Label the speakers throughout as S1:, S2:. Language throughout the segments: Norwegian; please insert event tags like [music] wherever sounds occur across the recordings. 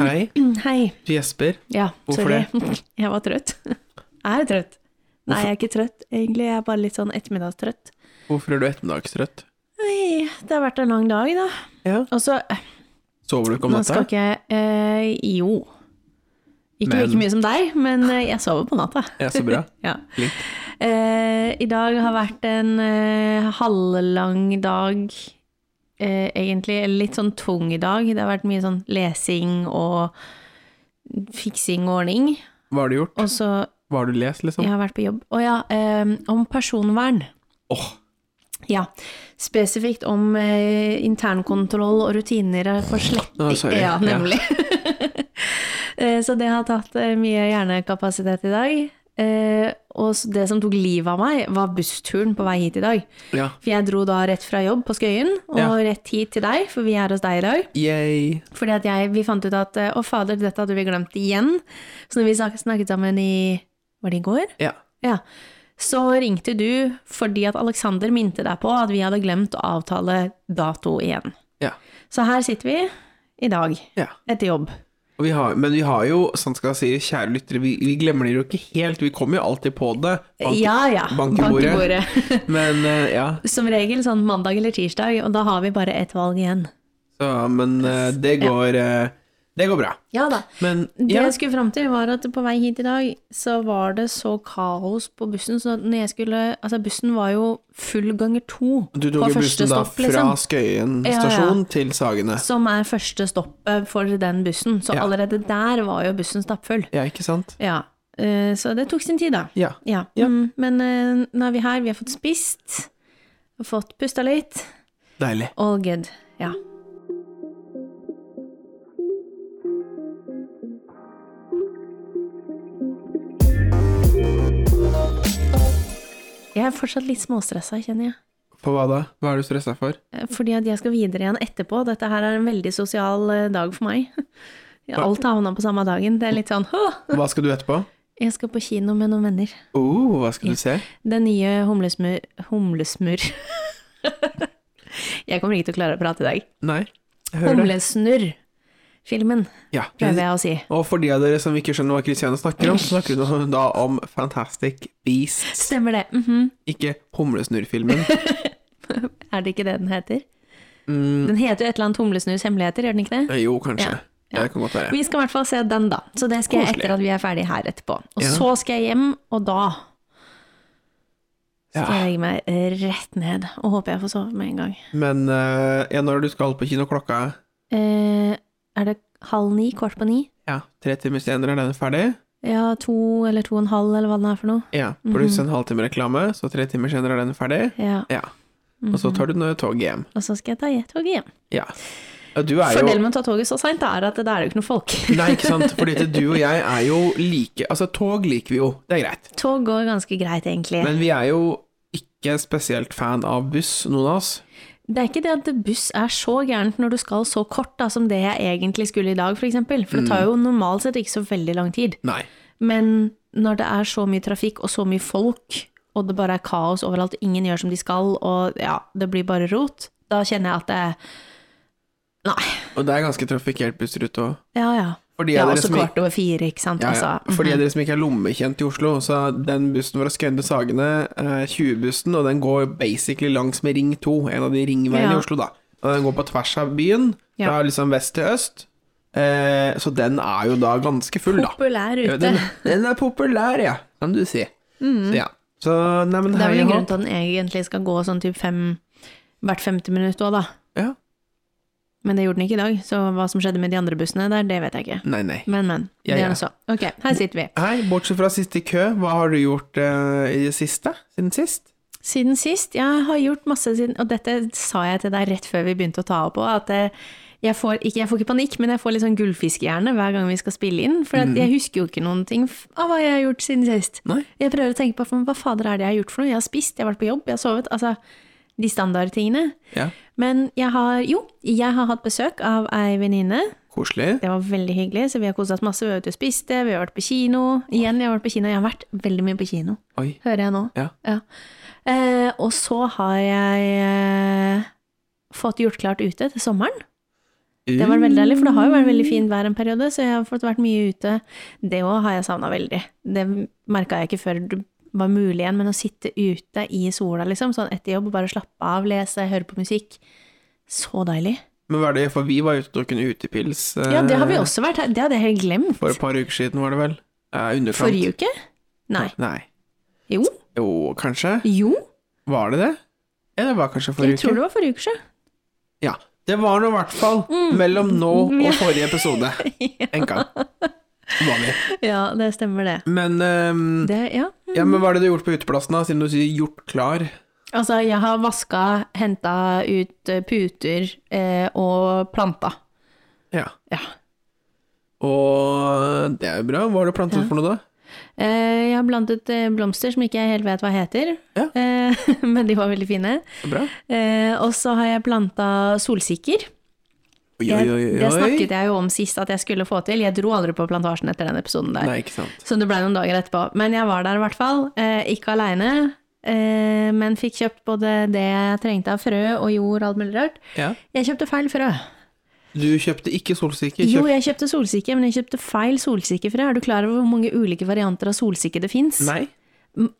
S1: Hei,
S2: Hei.
S1: du gjesper.
S2: Ja,
S1: Hvorfor
S2: sorry. [laughs] Jeg var trøtt. Jeg er trøtt. Nei, jeg er ikke trøtt, egentlig. Jeg er bare litt sånn ettermiddagstrøtt.
S1: Hvorfor er du ettermiddagstrøtt?
S2: Oi, det har vært en lang dag, da.
S1: Ja.
S2: Og så eh,
S1: Sover du ikke om
S2: Nå skal
S1: natta?
S2: ikke jeg eh, Jo. Ikke
S1: Men-
S2: like mye som deg, men eh, jeg sover på natta.
S1: Ja, så bra.
S2: [laughs] Ja.
S1: Flink.
S2: Eh, I dag har vært en eh, halvlang dag, eh, egentlig. Eller Litt sånn tung i dag. Det har vært mye sånn lesing og fiksing og ordning.
S1: Hva har du gjort?
S2: Og så
S1: Hva har du lest, liksom? Åh,
S2: Jeg har vært på jobb. Å ja, eh, om personvern. Ja. Spesifikt om eh, internkontroll og rutiner for slett...
S1: Å, sorry.
S2: Ja,
S1: Ja.
S2: nemlig. [laughs] Eh, så det har tatt eh, mye hjernekapasitet i dag. Eh, og s- det som tok livet av meg, var bussturen på vei hit i dag.
S1: ja.
S2: For jeg dro da rett fra jobb på Skøyen, og
S1: Ja.
S2: rett hit til deg, for vi er hos deg i dag.
S1: Yay.
S2: Fordi at jeg, vi fant ut at eh, Å, fader, dette hadde vi glemt igjen. Så når vi snak- snakket sammen i Var det i går?
S1: Ja.
S2: Ja. Så ringte du fordi at Alexander minte deg på at vi hadde glemt å avtale dato igjen.
S1: Ja.
S2: Så her sitter vi i dag,
S1: ja.
S2: etter jobb.
S1: Og vi har, men vi har jo, sånn skal jeg si, kjære lyttere, vi, vi glemmer det jo ikke helt. Vi kommer jo alltid på det. Bank-
S2: ja, ja.
S1: bank i bordet.
S2: bordet. [laughs]
S1: Men eh, ja,
S2: Som regel sånn mandag eller tirsdag, og da har vi bare ett valg igjen.
S1: så, men eh, det går eh, Det går bra.
S2: Ja da.
S1: Men
S2: Det
S1: ja,
S2: jeg skulle fram til, var at på vei hit i dag, så var det så kaos på bussen, så når jeg skulle Altså, bussen var jo full ganger to
S1: du tok
S2: på
S1: jo
S2: første
S1: bussen da
S2: stopp,
S1: fra
S2: liksom.
S1: Skøyen
S2: Ja, ja.
S1: stasjon til Sagene.
S2: Som er første stoppet for den bussen. Så
S1: Ja.
S2: allerede der var jo bussen stappfull.
S1: Ja, ikke sant?
S2: Ja. eh, Så det tok sin tid, da.
S1: Ja.
S2: Ja.
S1: Ja.
S2: Mm, men eh, nå er vi her, vi har fått spist, og fått pusta litt.
S1: Deilig.
S2: All good. Ja. Jeg er fortsatt litt småstressa, kjenner jeg.
S1: På hva da? Hva er du stressa for?
S2: Eh, Fordi at jeg skal videre igjen etterpå. Dette her er en veldig sosial eh, dag for meg. [laughs] Alt har havna på samme dagen. Det er litt sånn «Åh,
S1: Hva skal du etterpå?
S2: Jeg skal på kino med noen venner.
S1: Oh, hva skal du se?
S2: Den nye humlesmur... Humlesmur. [laughs] jeg kommer ikke til å klare å prate i dag.
S1: Nei, jeg hører det.
S2: Humlesnurr-filmen,
S1: Ja.
S2: prøver jeg å si.
S1: Og for de av dere som ikke skjønner hva Kristiane snakker om, så snakker hun da om Fantastic Beasts,
S2: Stemmer det. mhm.
S1: ikke Humlesnurr-filmen.
S2: [laughs] Er det ikke det den heter?
S1: Mm.
S2: Den heter jo et eller annet Humlesnurrs hemmeligheter, gjør den ikke det?
S1: Eh, Jo, kanskje.
S2: Ja.
S1: Det kan godt være.
S2: Vi skal i hvert fall se den, da. Så det skal jeg
S1: Koselig.
S2: etter at vi er ferdig her etterpå. Og
S1: Ja.
S2: så skal jeg hjem, og da skal
S1: Ja.
S2: jeg legge meg rett ned. Og håper jeg får sove med en gang.
S1: Men eh, ja, når du skal på kino klokka
S2: Eh, er det halv ni? Kvart på ni?
S1: ja, tre timer senere er den ferdig,
S2: Ja, to eller to og en halv, eller hva den er for noe.
S1: ja,
S2: Mhm.
S1: pluss en halvtime reklame, så tre timer senere er den ferdig,
S2: Ja.
S1: ja. Og så
S2: Mhm.
S1: tar du nå toget hjem.
S2: Og så skal jeg ta toget hjem.
S1: Ja. Ja, du er jo
S2: Fordelen med å ta toget så seint er at det er jo ikke noe folk.
S1: Nei, ikke sant, fordi at du og jeg er jo like Altså, tog liker vi jo, det er greit.
S2: [laughs] Tog går ganske greit, egentlig.
S1: Men vi er jo ikke spesielt fan av buss, noen av oss.
S2: Det er ikke det at buss er så gærent når du skal så kort da, som det jeg egentlig skulle i dag, f.eks. For, eksempel. for det tar
S1: Mm.
S2: jo normalt sett ikke så veldig lang tid.
S1: Nei.
S2: Men når det er så mye trafikk og så mye folk, og det bare er kaos overalt, og ingen gjør som de skal, og ja, det blir bare rot, da kjenner jeg at det Nei.
S1: Og det er ganske trafikkert bussrute òg.
S2: Ja, ja.
S1: For de
S2: Ja,
S1: av dere
S2: også
S1: som
S2: kvart over fire, ikke sant.
S1: ja, ja.
S2: Altså,
S1: For de av
S2: mhm.
S1: dere som ikke er lommekjent i Oslo, så er den bussen fra Skøyen til Sagene, eh, 20-bussen, og den går basically langs med Ring 2, en av de ringveiene
S2: Ja.
S1: i Oslo, da. Og den går på tvers av byen,
S2: Ja.
S1: fra liksom vest til øst. Eh, så den er jo da ganske full, da.
S2: Populær
S1: Ja,
S2: ute.
S1: den, den er populær, ja, kan du si. Så ja. Så nei, men
S2: [laughs] Mm-hmm. Det er
S1: hei
S2: vel en
S1: og hå.
S2: grunn til at den egentlig skal gå sånn typ fem hvert femte minutt òg, da.
S1: Ja.
S2: Men det gjorde den ikke i dag, så hva som skjedde med de andre bussene der, det vet jeg ikke.
S1: Nei, nei.
S2: Men, men.
S1: Ja,
S2: Det
S1: ja.
S2: er det så. Ok, her sitter vi.
S1: Hei, bortsett fra siste kø, hva har du gjort eh, i det siste? Siden sist?
S2: Siden sist, jeg har gjort masse siden Og dette sa jeg til deg rett før vi begynte å ta opp òg, at eh, jeg får, ikke, jeg får ikke panikk, men jeg får litt sånn gullfiskehjerne hver gang vi skal spille inn. For at jeg husker jo ikke noen ting f- av hva jeg har gjort siden sist.
S1: Nei.
S2: Jeg prøver å tenke på for, hva fader er det jeg har gjort for noe? Jeg har spist, jeg har vært på jobb, jeg har sovet. Altså de standardtingene.
S1: Ja.
S2: Men jeg har Jo, jeg har hatt besøk av ei venninne.
S1: Koselig.
S2: Det var veldig hyggelig, så vi har kosa oss masse. Vi har vært ute og spist, det, vi har vært på kino. Igjen, jeg har vært på kino. Jeg har vært veldig mye på kino,
S1: Oi.
S2: hører jeg nå.
S1: Ja.
S2: Eh, og så har jeg eh, fått gjort klart ute til sommeren. Det var veldig deilig, for det har jo vært
S1: Mm.
S2: veldig fint vær en periode, så jeg har fått vært mye ute. Det òg har jeg savna veldig. Det merka jeg ikke før det var mulig igjen, men å sitte ute i sola, liksom, sånn etter jobb, og bare slappe av, lese, høre på musikk. Så deilig.
S1: Men hva er det, for vi var ute og tok en utepils eh,
S2: Ja, det har vi også vært her. Det hadde jeg helt glemt.
S1: for et par uker siden, var det vel? Eh, underkant.
S2: Forrige uke? Nei.
S1: Nei.
S2: Jo.
S1: Jo, kanskje.
S2: Jo.
S1: Var det det? Ja, det var kanskje forrige uke.
S2: Jeg tror det var forrige uke siden.
S1: Ja. Det var nå i hvert fall mellom nå
S2: Mm. Ja.
S1: og forrige
S2: [laughs]
S1: episode. En gang. Var vi.
S2: Ja, det stemmer det.
S1: Men, ehm,
S2: det ja.
S1: ja, men hva er det du har gjort på uteplassen, da, siden du sier 'gjort klar'?
S2: Altså, jeg har vaska, henta ut eh, puter eh, og planta.
S1: Ja.
S2: Ja.
S1: Og det er jo bra. Hva har du plantet for noe, da?
S2: Eh, jeg har plantet eh, blomster som ikke jeg helt vet hva heter,
S1: Ja.
S2: eh, [laughs] men de var veldig fine.
S1: Bra.
S2: Eh, og så har jeg planta solsikker.
S1: Oi,
S2: Jeg,
S1: oi, oi.
S2: Det snakket
S1: jeg
S2: jeg jo om sist at jeg skulle få til. Jeg dro aldri på plantasjen etter den episoden der.
S1: Nei, ikke sant.
S2: Så det ble noen dager etterpå. Men jeg var der i hvert fall. Eh, ikke aleine, eh, men fikk kjøpt både det jeg trengte av frø og jord og alt mulig rart.
S1: Ja.
S2: Jeg kjøpte feil frø.
S1: Du kjøpte ikke solsikker?
S2: Jo,
S1: Kjøpt...
S2: jeg kjøpte solsikke, men jeg kjøpte feil solsikkefrø. Er du klar over hvor mange ulike varianter av solsikke det fins?
S1: Nei?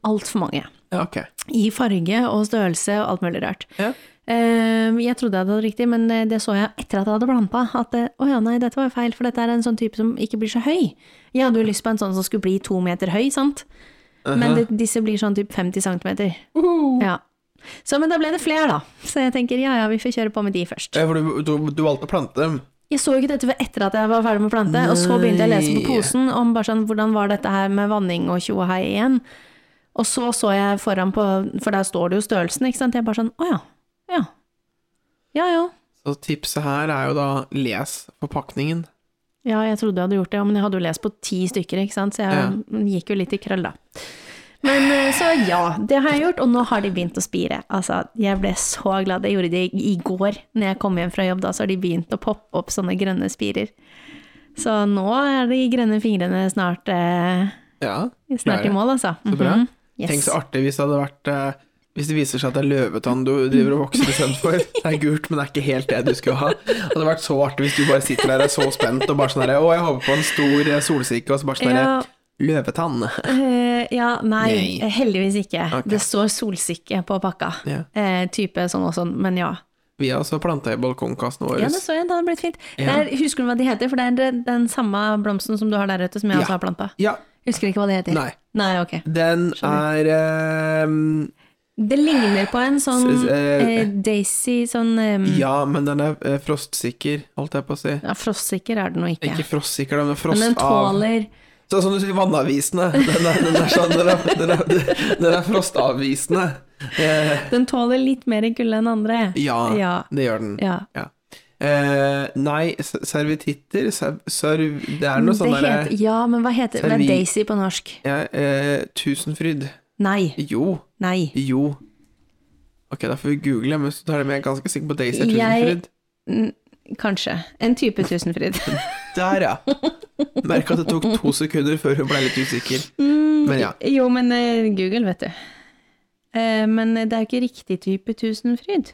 S2: Altfor mange.
S1: Ja, ok.
S2: I farge og størrelse og alt mulig rart.
S1: Ja.
S2: Eh, Jeg trodde jeg hadde det riktig, men eh, det så jeg etter at jeg hadde planta. At eh, å ja, nei, dette var feil, for dette er en sånn type som ikke blir så høy. Jeg hadde jo lyst på en sånn som skulle bli to meter høy, sant. Men det, disse blir sånn typ 50 cm.
S1: Uhu.
S2: Ja. Så, men da ble det flere, da. Så jeg tenker ja ja, vi får kjøre på med de først.
S1: Ja, for du, du, du valgte å plante dem?
S2: Jeg så jo ikke dette etter at jeg var ferdig med å plante, og så begynte jeg å lese på
S1: Nei.
S2: posen om bare sånn, hvordan var dette her med vanning og tjo og hei igjen. Og så så jeg foran på, for der står det jo størrelsen, ikke sant. Jeg bare sånn å ja. Ja ja. ja.
S1: Så tipset her er jo da les forpakningen.
S2: Ja, jeg trodde jeg hadde gjort det, ja, men jeg hadde jo lest på ti stykker, ikke sant? så jeg gikk jo litt i krøll, da. Men eh, så ja, det har jeg gjort, og nå har de begynt å spire. Altså, jeg ble så glad. Jeg gjorde det i i går når jeg kom hjem fra jobb, da, så har de begynt å poppe opp sånne grønne spirer. Så nå er de grønne fingrene snart, eh,
S1: Ja.
S2: snart i mål, altså.
S1: Så bra.
S2: Mhm.
S1: Tenk
S2: Yes.
S1: så artig hvis det hadde vært eh, Hvis det viser seg at det er løvetann du driver og vokser bestemt for. Det er gult, men det er ikke helt det du skulle ha. Det hadde vært så artig hvis du bare sitter der og er så spent og bare sånn herre Å, jeg håper på en stor eh, solsikke, og så bare sånn herre
S2: Ja.
S1: Løvetann.
S2: Eh, ja, nei,
S1: Nei.
S2: heldigvis ikke.
S1: Ok.
S2: Det står solsikke på pakka.
S1: Ja.
S2: Eh, type sånn og sånn, men ja.
S1: Vi har også planta i balkongkassen vår.
S2: Ja, det så jeg. Det hadde blitt fint. Det er, husker du hva de heter? For det er den, den samme blomsten som du har der ute, som jeg
S1: Ja.
S2: også har planta.
S1: Ja,
S2: Husker ikke hva det heter.
S1: Nei.
S2: ok.
S1: den er eh,
S2: Det ligner på en sånn
S1: S- s- eh,
S2: eh, Daisy sånn eh,
S1: Ja, men den er eh, frostsikker, holdt jeg på å si.
S2: ja, Frostsikker er det nå ikke.
S1: Ikke frostsikker, den er
S2: Men
S1: frost
S2: den
S1: av.
S2: tåler
S1: Sånn som du sier, vannavisende. Den er, den er, sånn, den er, den er, den er frostavvisende. Eh,
S2: Den tåler litt mer kulde enn andre.
S1: ja,
S2: Ja.
S1: det gjør den.
S2: ja.
S1: Ja. Eh, nei, s- servititter serv, serv, Det er noe
S2: det
S1: sånn
S2: heter,
S1: derre
S2: ja, men hva heter hva er
S1: Servi-
S2: Daisy på norsk?
S1: ja, eh, Tusenfryd.
S2: Nei.
S1: Jo.
S2: Nei.
S1: Jo. Ok, da får vi google, men hvis du tar det med, jeg er ganske sikker på at Daisy er
S2: Jeg-
S1: Tusenfryd.
S2: N- Kanskje. En type tusenfryd.
S1: Der, ja. Merka at det tok to sekunder før hun ble litt usikker. Men ja.
S2: Mm, Jo, men eh, Google, vet du. Eh, men det er jo ikke riktig type tusenfryd.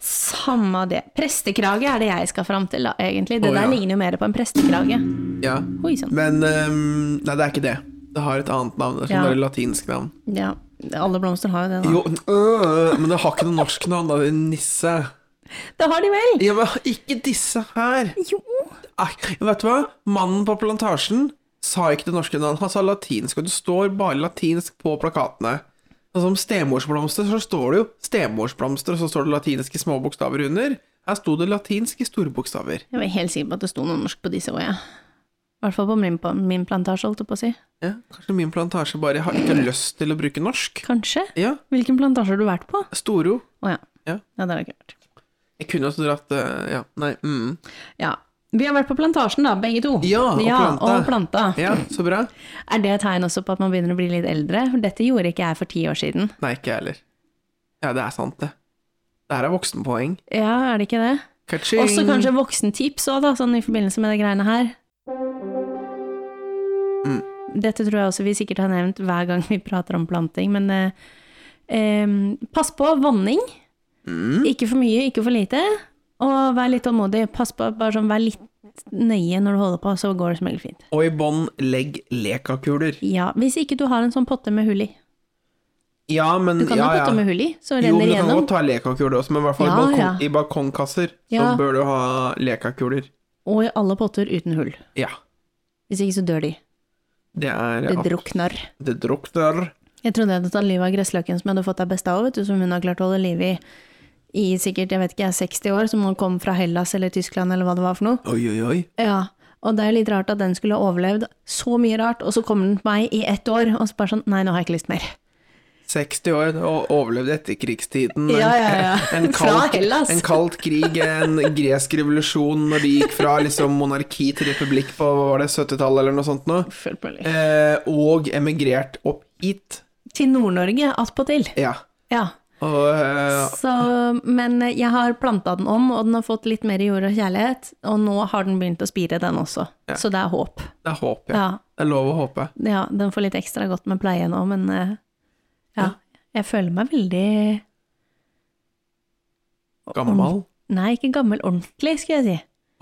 S2: Samme det. Prestekrage er det jeg skal fram til, da, egentlig. Det
S1: Å,
S2: der
S1: ja.
S2: ligner jo mer på en prestekrage.
S1: ja.
S2: Oi sann.
S1: Men ehm, Nei, det er ikke det. Det har et annet navn. Det er sånn
S2: Ja.
S1: der latinsk navn.
S2: Ja, alle blomster har jo det, da.
S1: Jo, øh, men det har ikke noe norsk navn, da. Det er nisse.
S2: Det har de vel!
S1: Ja, men ikke disse her.
S2: Jo!
S1: Nei, vet du hva? Mannen på plantasjen sa ikke det norske navnet, han sa latinsk, og det står bare latinsk på plakatene. Og som stemorsblomster så står det jo stemorsblomster, og så står det latinsk i små bokstaver under. Her sto det latinsk i store bokstaver.
S2: Jeg var helt sikker på at det sto noe norsk på disse òg, jeg. I hvert fall på min, på min plantasje, holdt jeg på å si.
S1: Ja, kanskje min plantasje bare har ikke lyst til å bruke norsk?
S2: Kanskje?
S1: Ja,
S2: Hvilken plantasje har du vært på? Å
S1: Storo.
S2: ja.
S1: Ja.
S2: det har jeg ikke vært.
S1: Jeg kunne også dratt eh, Ja, nei mm.
S2: Ja. Vi har vært på plantasjen, da, begge to.
S1: Ja, og planta.
S2: Og planta.
S1: Ja, så bra.
S2: Er det et tegn også på at man begynner å bli litt eldre? For dette gjorde ikke jeg for ti år siden.
S1: Nei, ikke jeg heller. Ja, det er sant, det. Det her er voksenpoeng.
S2: Ja, er det ikke det?
S1: Ka-ching!
S2: Også kanskje voksentips òg, da, sånn i forbindelse med de greiene her.
S1: Mm.
S2: Dette tror jeg også vi sikkert har nevnt hver gang vi prater om planting, men eh,
S1: Mm.
S2: em, pass på vanning. Ikke for mye, ikke for lite. Og vær litt tålmodig. Pass på, bare sånn, vær litt nøye når du holder på, så går det som regel fint.
S1: Og i bånn, legg lekakuler.
S2: Ja, Hvis ikke du har en sånn potte med hull i.
S1: Ja, men
S2: Du kan
S1: ja,
S2: ha
S1: ja.
S2: potte med hull i, som
S1: Jo, men
S2: renner
S1: du kan
S2: igjennom.
S1: godt ta lekakuler også, men i hvert fall i
S2: Ja,
S1: balkong,
S2: ja.
S1: i balkongkasser så
S2: Ja.
S1: bør du ha lekakuler.
S2: Og i alle potter uten hull.
S1: Ja.
S2: Hvis ikke så dør de.
S1: Det er
S2: Det drukner.
S1: Det drukner.
S2: Jeg trodde jeg hadde tatt livet av gressløken som jeg hadde fått av besta av, vet du, som hun har klart å holde liv i i sikkert, jeg vet ikke, jeg er 60 år, som hun kom fra Hellas eller Tyskland eller hva det var for noe.
S1: Oi, oi, oi.
S2: Ja, og det er jo litt rart at den skulle ha overlevd så mye rart, og så kommer den til meg i ett år, og så bare sånn, nei, nå har jeg ikke lyst mer.
S1: 60 år og overlevde etterkrigstiden.
S2: Ja, ja, ja.
S1: [laughs] En
S2: Fra
S1: kald,
S2: Hellas.
S1: en kald krig,
S2: [laughs]
S1: en gresk revolusjon når de gikk fra liksom monarki til republikk på hva var det, 70-tallet eller noe sånt nå.
S2: Følg på litt.
S1: Eh, og emigrert opp hit.
S2: Til Nord-Norge, attpåtil.
S1: Ja.
S2: Ja.
S1: Og eh,
S2: Så, men jeg har planta den om, og den har fått litt mer jord og kjærlighet, og nå har den begynt å spire, den også. Så det er håp.
S1: det er håp, ja.
S2: Ja.
S1: Det er lov å håpe.
S2: Ja, den får litt ekstra godt med pleie nå, men eh, ja. Jeg føler meg veldig
S1: Gammal.
S2: Nei, ikke gammel ordentlig, skulle jeg si.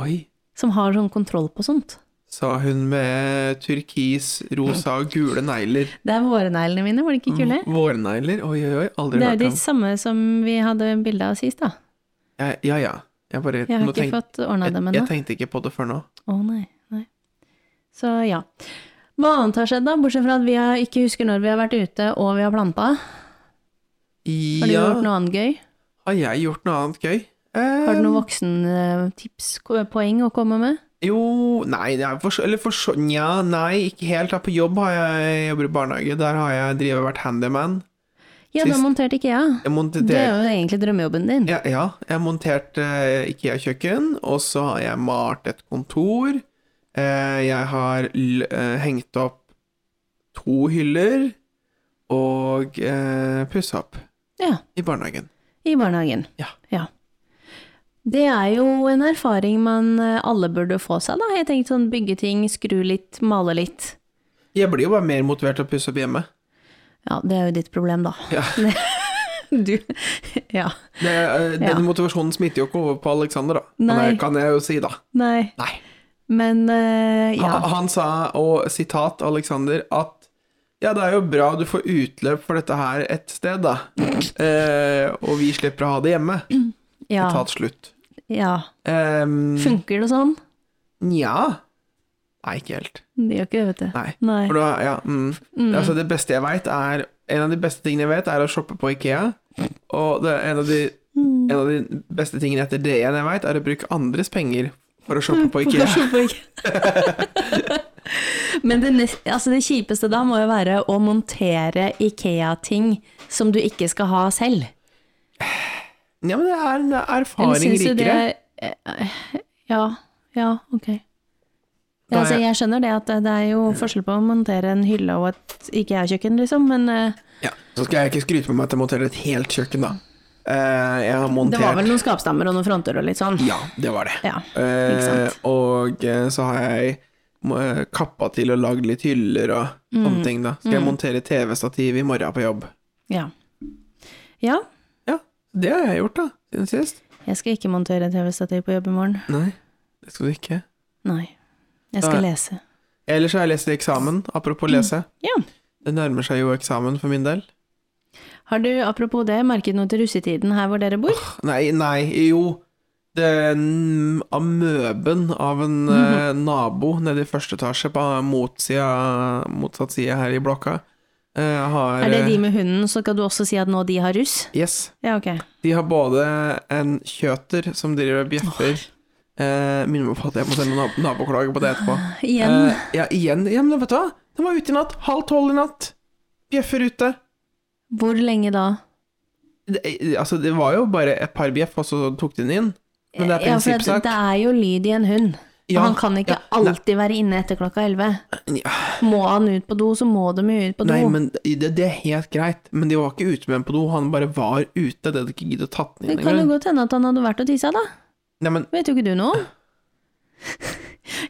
S1: Oi.
S2: Som har sånn kontroll på sånt.
S1: Sa hun med turkis, rosa og gule negler.
S2: Det er våreneglene mine, var de ikke kule?
S1: Mm, Vårnegler? Oi, oi, oi. Aldri
S2: Det er
S1: hørt
S2: jo de
S1: om.
S2: samme som vi hadde bilde av sist, da.
S1: Ja, ja. ja. Jeg bare
S2: Jeg har
S1: nå
S2: ikke
S1: tenk-
S2: fått ordna dem
S1: jeg,
S2: ennå.
S1: jeg tenkte ikke på det før nå.
S2: Å nei, nei. Så ja. Hva annet har skjedd, da? Bortsett fra at vi har, ikke husker når vi har vært ute og vi har planta. Har du
S1: ja.
S2: gjort noe annet gøy?
S1: Har jeg gjort noe annet gøy? Eh,
S2: Har du eh, noen voksentips-poeng å komme med?
S1: Jo, nei, det er for, så- eller for så, nja, nei, ikke helt. Da På jobb har jeg, jeg jobber i barnehage, der har jeg drevet vært handyman.
S2: Ja, da
S1: Sist-
S2: monterte ikke jeg.
S1: Jeg monter,
S2: Det er jo egentlig drømmejobben din.
S1: ja, ja, jeg har montert eh, IKEA-kjøkken, og så har jeg malt et kontor. Eh, jeg har l eh, hengt opp to hyller, og eh, pussa opp
S2: Ja,
S1: i barnehagen.
S2: i barnehagen.
S1: Ja.
S2: Det er jo en erfaring man eh, alle burde få seg, da. Jeg tenkte sånn bygge ting, skru litt, male litt.
S1: Jeg blir jo bare mer motivert til å pusse opp hjemme.
S2: Ja, det er jo ditt problem, da.
S1: Ja.
S2: [laughs] du Ja.
S1: Det, eh, denne
S2: Ja.
S1: motivasjonen smitter jo ikke over på Alexander, da. Kan
S2: Nei.
S1: jeg, kan jeg jo si, da.
S2: Nei.
S1: Nei.
S2: Men eh, ja.
S1: Han, han sa, og sitat Alexander, at ja, det er jo bra du får utløp for dette her et sted, da.
S2: [laughs]
S1: Eh, og vi slipper å ha det hjemme.
S2: Ja.
S1: Sitat slutt.
S2: ja.
S1: Ehm,
S2: Funker det sånn?
S1: Nja. Nei, ikke helt.
S2: Det gjør ikke det, vet du.
S1: Nei.
S2: Nei.
S1: For da, ja, mm. Altså, det beste jeg vet er En av de beste tingene jeg vet, er å shoppe på Ikea. Og det, er en, av de,
S2: Mm.
S1: en av de beste tingene etter det igjen jeg vet, er å bruke andres penger for å
S2: Mm,
S1: shoppe på Ikea.
S2: [laughs] Hvorfor får ikke- Men det, nest, altså det kjipeste da må jo være å montere Ikea-ting som du ikke skal ha selv.
S1: Ja, men det er en erfaring
S2: Eller syns du det
S1: rikere.
S2: er eh, Ja, ja, ok.
S1: Da
S2: Ja, altså,
S1: er-
S2: jeg skjønner det at det er jo forskjell på å montere en hylle og et IKEA-kjøkken, liksom, men eh,
S1: Ja, så skal jeg ikke skryte på meg at jeg monterer et helt kjøkken, da. Eh, jeg har montert
S2: det var vel noen skapstammer og noen fronter og litt sånn.
S1: Ja, det var det.
S2: Ja,
S1: Eh,
S2: ikke sant.
S1: og eh, så har jeg eh, kappa til og lagd litt hyller og
S2: Mm.
S1: sånne ting, da. Skal jeg montere TV-stativ i morgen på jobb.
S2: Ja. ja.
S1: Ja, det har jeg gjort, da, siden sist.
S2: Jeg skal ikke montere TV-stativ på jobb i morgen.
S1: Nei, det skal du ikke.
S2: Nei. Jeg skal
S1: Nei.
S2: lese.
S1: Ellers har jeg lest i eksamen, apropos lese.
S2: Ja.
S1: Det nærmer seg jo eksamen for min del.
S2: Har du, apropos det, merket noe til russetiden her hvor dere bor?
S1: Nei, nei, jo Den amøben av en eh, nabo nede i første etasje på motsida, motsatt side her i blokka, eh, har
S2: Er det de
S1: eh,
S2: med hunden, så skal du også si at nå de har russ?
S1: Yes.
S2: Ja, ok.
S1: De har både en kjøter som driver og bjeffer eh, Minner meg på at jeg må sende nab naboklage på det etterpå.
S2: Igjen.
S1: Eh, ja, igjen. Ja, men vet du hva? Den var ute i natt. Halv tolv i natt. Bjeffer ute.
S2: Hvor lenge da?
S1: Det, altså, det var jo bare et par bjeff, og så tok de den inn. Men det er
S2: Ja, for at
S1: prinsippsak.
S2: det er jo lyd i en hund.
S1: Ja,
S2: og han kan ikke
S1: ja, nei.
S2: alltid være inne etter klokka elleve.
S1: Ja.
S2: Må han ut på do, så må de jo ut på do.
S1: Nei, men det, det er helt greit. Men de var ikke ute med en på do, han bare var ute. Det hadde ikke giddet å tatt den
S2: det
S1: inn
S2: kan jo
S1: engang.
S2: godt hende at han hadde vært og tissa, da.
S1: Nei, men
S2: Vet jo ikke du
S1: [laughs]
S2: noe om.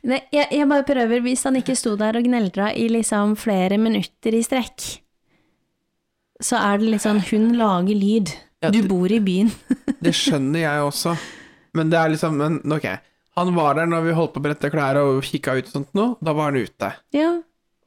S2: Nei, jeg, jeg bare prøver, hvis han ikke sto der og gneldra i liksom flere minutter i strekk, så er det litt sånn Hun lager lyd.
S1: Ja,
S2: Du
S1: det-
S2: bor i byen.
S1: det skjønner jeg også. Men det er liksom Men ok. Han var der når vi holdt på å brette klær og kikka ut og sånt noe. Da var han ute.
S2: Ja,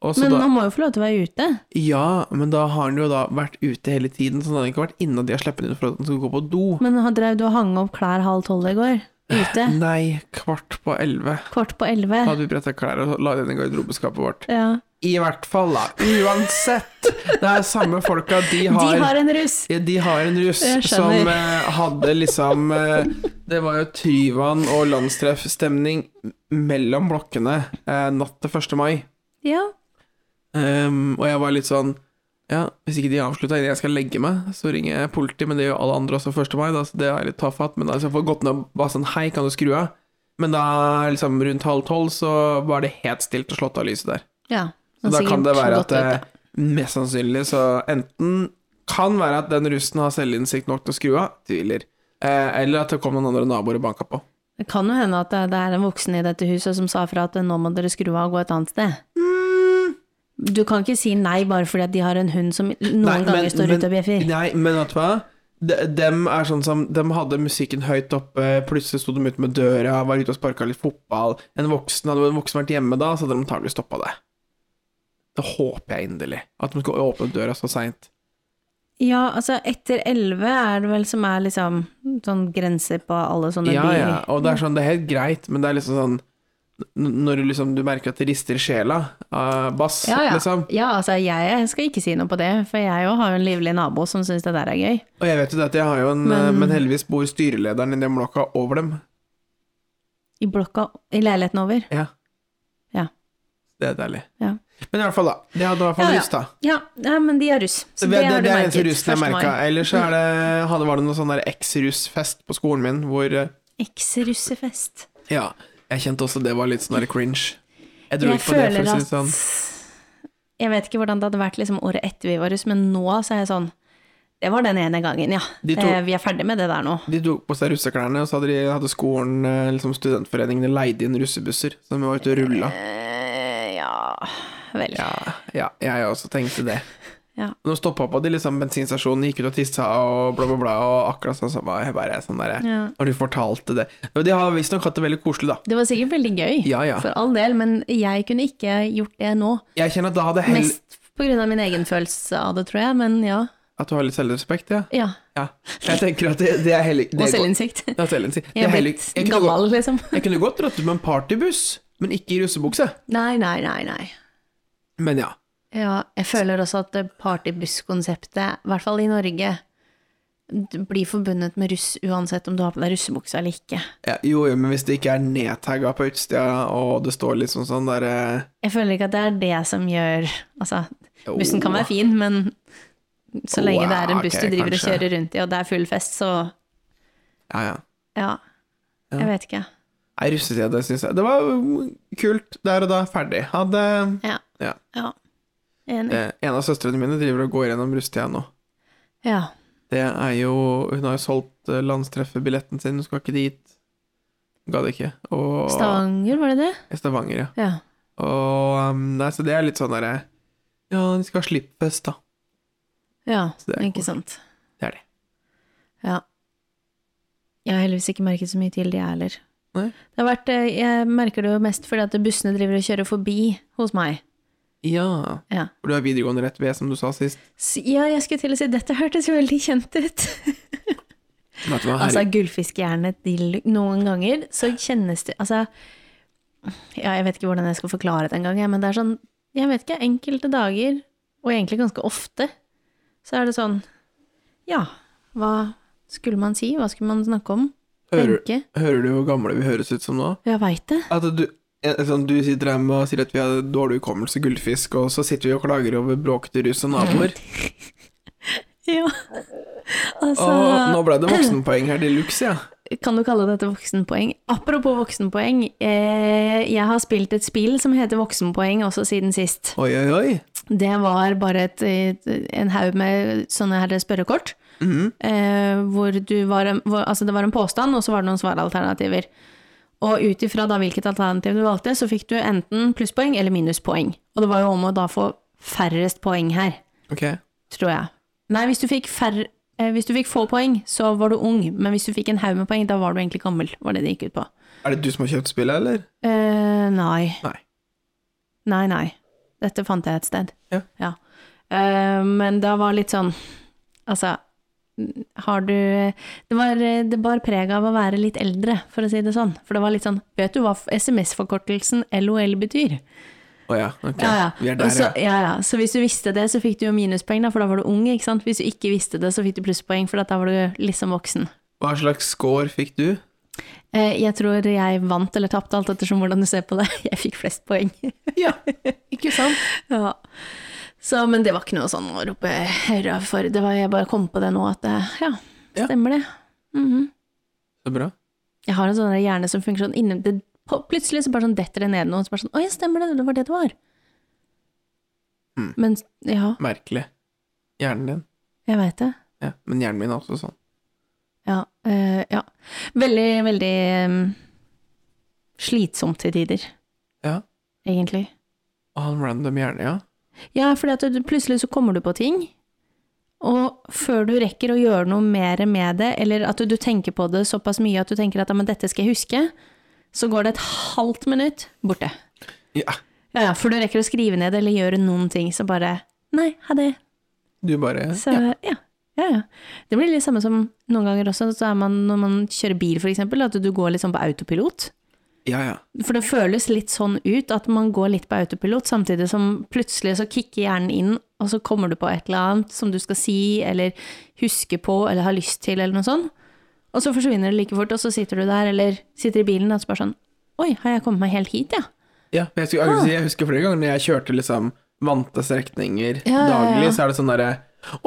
S1: Og så
S2: men
S1: da,
S2: han må jo få lov til å være ute.
S1: ja, men da har han jo da vært ute hele tiden, så han hadde ikke vært inne, og de har sluppet inn for at han skulle gå på do.
S2: Men han drev du og hang opp klær halv tolv i går? Ute?
S1: Nei, kvart på elleve
S2: Kvart på elleve?
S1: hadde vi bretta klær og la det inn i garderobeskapet vårt.
S2: Ja.
S1: I hvert fall, da. Uansett. Det er samme folka. De har,
S2: De har en russ!
S1: Ja, de har en russ
S2: Jeg
S1: som
S2: skjønner.
S1: eh, hadde liksom eh, Det var jo Tryvann og landstreffstemning mellom blokkene eh, natt til 1. mai.
S2: [laughs] Ja.
S1: Ehm, og jeg var litt sånn Ja, hvis ikke de avslutta innen jeg skal legge meg, så ringer jeg politiet, men det gjør alle andre også 1. mai, da, så det er litt tafatt. Men da hvis jeg får gått ned og bare sånn Hei, kan du skru av? Men da liksom rundt halv tolv så var det helt stilt og slått av lyset der.
S2: ja.
S1: Så da
S2: sikkert
S1: kan det være at
S2: godt ute.
S1: eh, mest sannsynlig så enten kan være at den russen har selvinnsikt nok til å skru av, tviler, eh, eller at det kom noen andre naboer og banka på.
S2: Det kan jo hende at det det er en voksen i dette huset som sa fra at eh, nå må dere skru av og gå et annet sted. Mm. Du kan ikke si nei bare fordi at de har en hund som noen
S1: Nei,
S2: ganger
S1: men-
S2: står
S1: men-
S2: ute og bjeffer.
S1: Nei, men vet du hva? De, dem er sånn som Dem hadde musikken høyt oppe, plutselig sto de ute med døra, var ute og sparka litt fotball. En voksen hadde en voksen vært hjemme da, så hadde de antagelig stoppa det. Det håper jeg inderlig. At de skulle åpne døra så seint.
S2: Ja, altså etter elleve er det vel som er liksom sånn grense på alle sånne
S1: Ja,
S2: byer.
S1: ja, og det er sånn, det er helt greit, men det er liksom sånn n- Når du liksom du merker at det rister i sjela av bass,
S2: Ja, ja.
S1: liksom.
S2: ja, altså jeg skal ikke si noe på det, for jeg jo har jo en livlig nabo som syns det der er gøy.
S1: Og jeg vet jo det at jeg har jo en eh,
S2: Men-
S1: Men, heldigvis bor styrelederen i den blokka over dem.
S2: I blokka, i leiligheten over.
S1: Ja.
S2: Ja.
S1: Det er deilig.
S2: Ja.
S1: Men i hvert fall, da. Det hadde i hvert fall
S2: Ja, ja.
S1: russ, da.
S2: Ja, ja men de er russ.
S1: Så det, det,
S2: har
S1: det,
S2: du
S1: er eneste
S2: merket,
S1: russen jeg
S2: 1. mai. Mm.
S1: merka. Ellers så er det, hadde, var det noe sånn der eks-russ-fest på skolen min hvor eh,
S2: Eks-russefest.
S1: Ja, jeg kjente også det var litt sånn der cringe. Jeg dro
S2: Jeg
S1: ikke på det, for
S2: føler
S1: å si
S2: at
S1: det sånn.
S2: Jeg vet ikke hvordan det hadde vært liksom, året etter vi var russ, men nå så er jeg sånn Det var den ene gangen, ja.
S1: De to-
S2: eh, vi er ferdig med det der nå.
S1: De tok på seg russeklærne, og så hadde, de, hadde skolen, eh, liksom studentforeningene, leid inn russebusser. Så de var ute og rulla.
S2: Eh, ja Vel.
S1: Ja, ja, jeg også tenkte det.
S2: Ja.
S1: Nå stoppa på de liksom bensinstasjonen, gikk ut og tissa og bla, bla, bla, og akkurat sånn som jeg bare er sånn der
S2: Ja.
S1: Når du fortalte det Og de har visstnok hatt det veldig koselig, da.
S2: Det var sikkert veldig gøy,
S1: Ja, ja.
S2: for all del, men jeg kunne ikke gjort det nå.
S1: Jeg kjenner at da hadde hell
S2: Mest på grunn av min egen følelse av det, tror jeg, men ja.
S1: At du har litt selvrespekt, ja?
S2: ja.
S1: ja. Jeg tenker at det, det er heller
S2: Og
S1: det er godt-
S2: selvinnsikt.
S1: Ja, selvinnsikt. Det
S2: Jeg
S1: er
S2: er
S1: heller-
S2: blitt
S1: Jeg kunne godt-
S2: gammel, liksom.
S1: jeg kunne godt dratt ut med en partybuss, men ikke i russebukse.
S2: Nei, nei, nei, nei.
S1: Men ja.
S2: Ja, jeg føler også at det partybusskonseptet, i hvert fall i Norge, d- blir forbundet med russ uansett om du har på deg russebuksa eller ikke.
S1: Ja, jo, jo, men hvis det ikke er nedtagga på utstida, og det står liksom sånn der eh,
S2: Jeg føler ikke at det er det som gjør Altså,
S1: jo.
S2: bussen kan være fin, men så lenge det er en
S1: Oh. Wow,
S2: buss
S1: ok,
S2: du driver
S1: kanskje.
S2: og kjører rundt i, og det er full fest, så
S1: Ja, ja.
S2: ja.
S1: Ja.
S2: Jeg vet ikke.
S1: Nei, russetida, det syns jeg. Det var mm, kult der og da. Ferdig. Hadde
S2: Ja.
S1: Ja.
S2: ja. Enig.
S1: eh, En av søstrene mine driver og går gjennom russetida nå.
S2: Ja.
S1: Det er jo Hun har jo solgt eh, landstreffebilletten sin, hun skal ikke dit. Gadd ikke. Og
S2: Stavanger, var det det?
S1: Stavanger, ja.
S2: Ja.
S1: Og um, Nei, så det er litt sånn derre Ja, de skal ha slippfest, da.
S2: Ja,
S1: Så det er
S2: ikke
S1: koselig.
S2: sant.
S1: Det er det.
S2: Ja. Jeg har heldigvis ikke merket så mye til det, jeg heller.
S1: Nei.
S2: Det har vært, eh, jeg merker det jo mest fordi at bussene driver og kjører forbi hos meg.
S1: Ja.
S2: Ja.
S1: For du har videregående rett ved, som du sa sist.
S2: S- ja, jeg skulle til å si dette hørtes jo veldig kjent ut.
S1: Vet du hva,
S2: altså, gullfiskehjerne til noen ganger, så kjennes det Altså, ja, jeg vet ikke hvordan jeg skal forklare det engang, jeg, men det er sånn Jeg vet ikke, enkelte dager, og egentlig ganske ofte, så er det sånn Ja, hva skulle man si? Hva skulle man snakke om?
S1: hører,
S2: Tenke?
S1: hører du hvor gamle vi høres ut som nå?
S2: Jeg veit det.
S1: At du, eh, sånn, du sitter hjemme og sier at vi har dårlig hukommelse, gullfisk, og så sitter vi og klager over bråkete russ og naboer.
S2: Ja. Altså,
S1: Og nå ble det voksenpoeng her de luxe, ja.
S2: kan du kalle dette voksenpoeng? Apropos voksenpoeng, eh, jeg har spilt et spill som heter voksenpoeng også siden sist.
S1: Oi, oi, oi.
S2: Det var bare et, et, en haug med sånne her spørrekort, eh, hvor du var, en- hvor, altså det var en påstand, og så var det noen svaralternativer. Og ut ifra da hvilket alternativ du valgte, så fikk du enten plusspoeng eller minuspoeng. Og det var jo om å da få færrest poeng her
S1: Ok.
S2: tror jeg. Nei, hvis du fikk færre eh, hvis du fikk få poeng, så var du ung, men hvis du fikk en haug med poeng, da var du egentlig gammel, var det det gikk ut på.
S1: Er det du som har kjøpt spillet, eller?
S2: Eh, nei.
S1: Nei.
S2: Nei, nei. Dette fant jeg et sted.
S1: Ja.
S2: Eh, men da var litt sånn Altså, har du Det, var, det bar preg av å være litt eldre, for å si det sånn. For det var litt sånn Vet du hva SMS-forkortelsen LOL betyr?
S1: Å ja, ok.
S2: Ja, Altså- ja.
S1: Vi er der,
S2: Og så,
S1: ja.
S2: ja, ja. Så hvis du visste det, så fikk du jo minuspoeng, da, for da var du ung. ikke sant? Hvis du ikke visste det, så fikk du plusspoeng, for at da var du liksom voksen.
S1: Hva slags score fikk du?
S2: Eh, jeg tror jeg vant eller tapte, alt ettersom hvordan du ser på det. [laughs] Jeg fikk flest poeng.
S1: Ja, ikke sant?
S2: [laughs] Ja. Så, men det var ikke noe sånn å rope hurra for. Det var jeg bare kom på det nå, at eh, ja,
S1: Ja.
S2: stemmer det. Mhm.
S1: Så bra.
S2: Jeg har en sånn der hjerne som funker sånn inni det, på- Plutselig så bare sånn detter det ned noe, og så bare sånn Å ja, stemmer det, det var det det var.
S1: Mm.
S2: Men ja,
S1: Merkelig. Hjernen din.
S2: jeg veit det.
S1: Ja, men hjernen min er også sånn.
S2: Ja, eh, ja. Veldig, veldig eh, slitsomt til tider.
S1: Ja.
S2: Egentlig.
S1: Og han random hjerne, ja.
S2: Ja, fordi at du, plutselig så kommer du på ting, og før du rekker å gjøre noe mer med det, eller at du, du tenker på det såpass mye at du tenker at ja, men dette skal jeg huske, så går det et halvt minutt borte.
S1: Ja,
S2: Ja, ja, før du rekker å skrive ned eller gjøre noen ting, så bare Nei, ha det.
S1: du bare
S2: Så ja. ja. Ja, Det blir litt samme som noen ganger også, så er man når man kjører bil for eksempel, at du går litt sånn på autopilot.
S1: Ja, ja.
S2: For det føles litt sånn ut at man går litt på autopilot, samtidig som plutselig så kicker hjernen inn, og så kommer du på et eller annet som du skal si, eller huske på, eller har lyst til, eller noe sånt. Og så forsvinner det like fort, og så sitter du der, eller sitter i bilen, og så bare sånn Oi, har jeg kommet meg helt hit, ja? Ah.
S1: Ja, men jeg, skulle, jeg, skulle si, jeg husker flere ganger når jeg kjørte liksom vante strekninger
S2: Ja, ja, ja.
S1: daglig, så er det sånn derre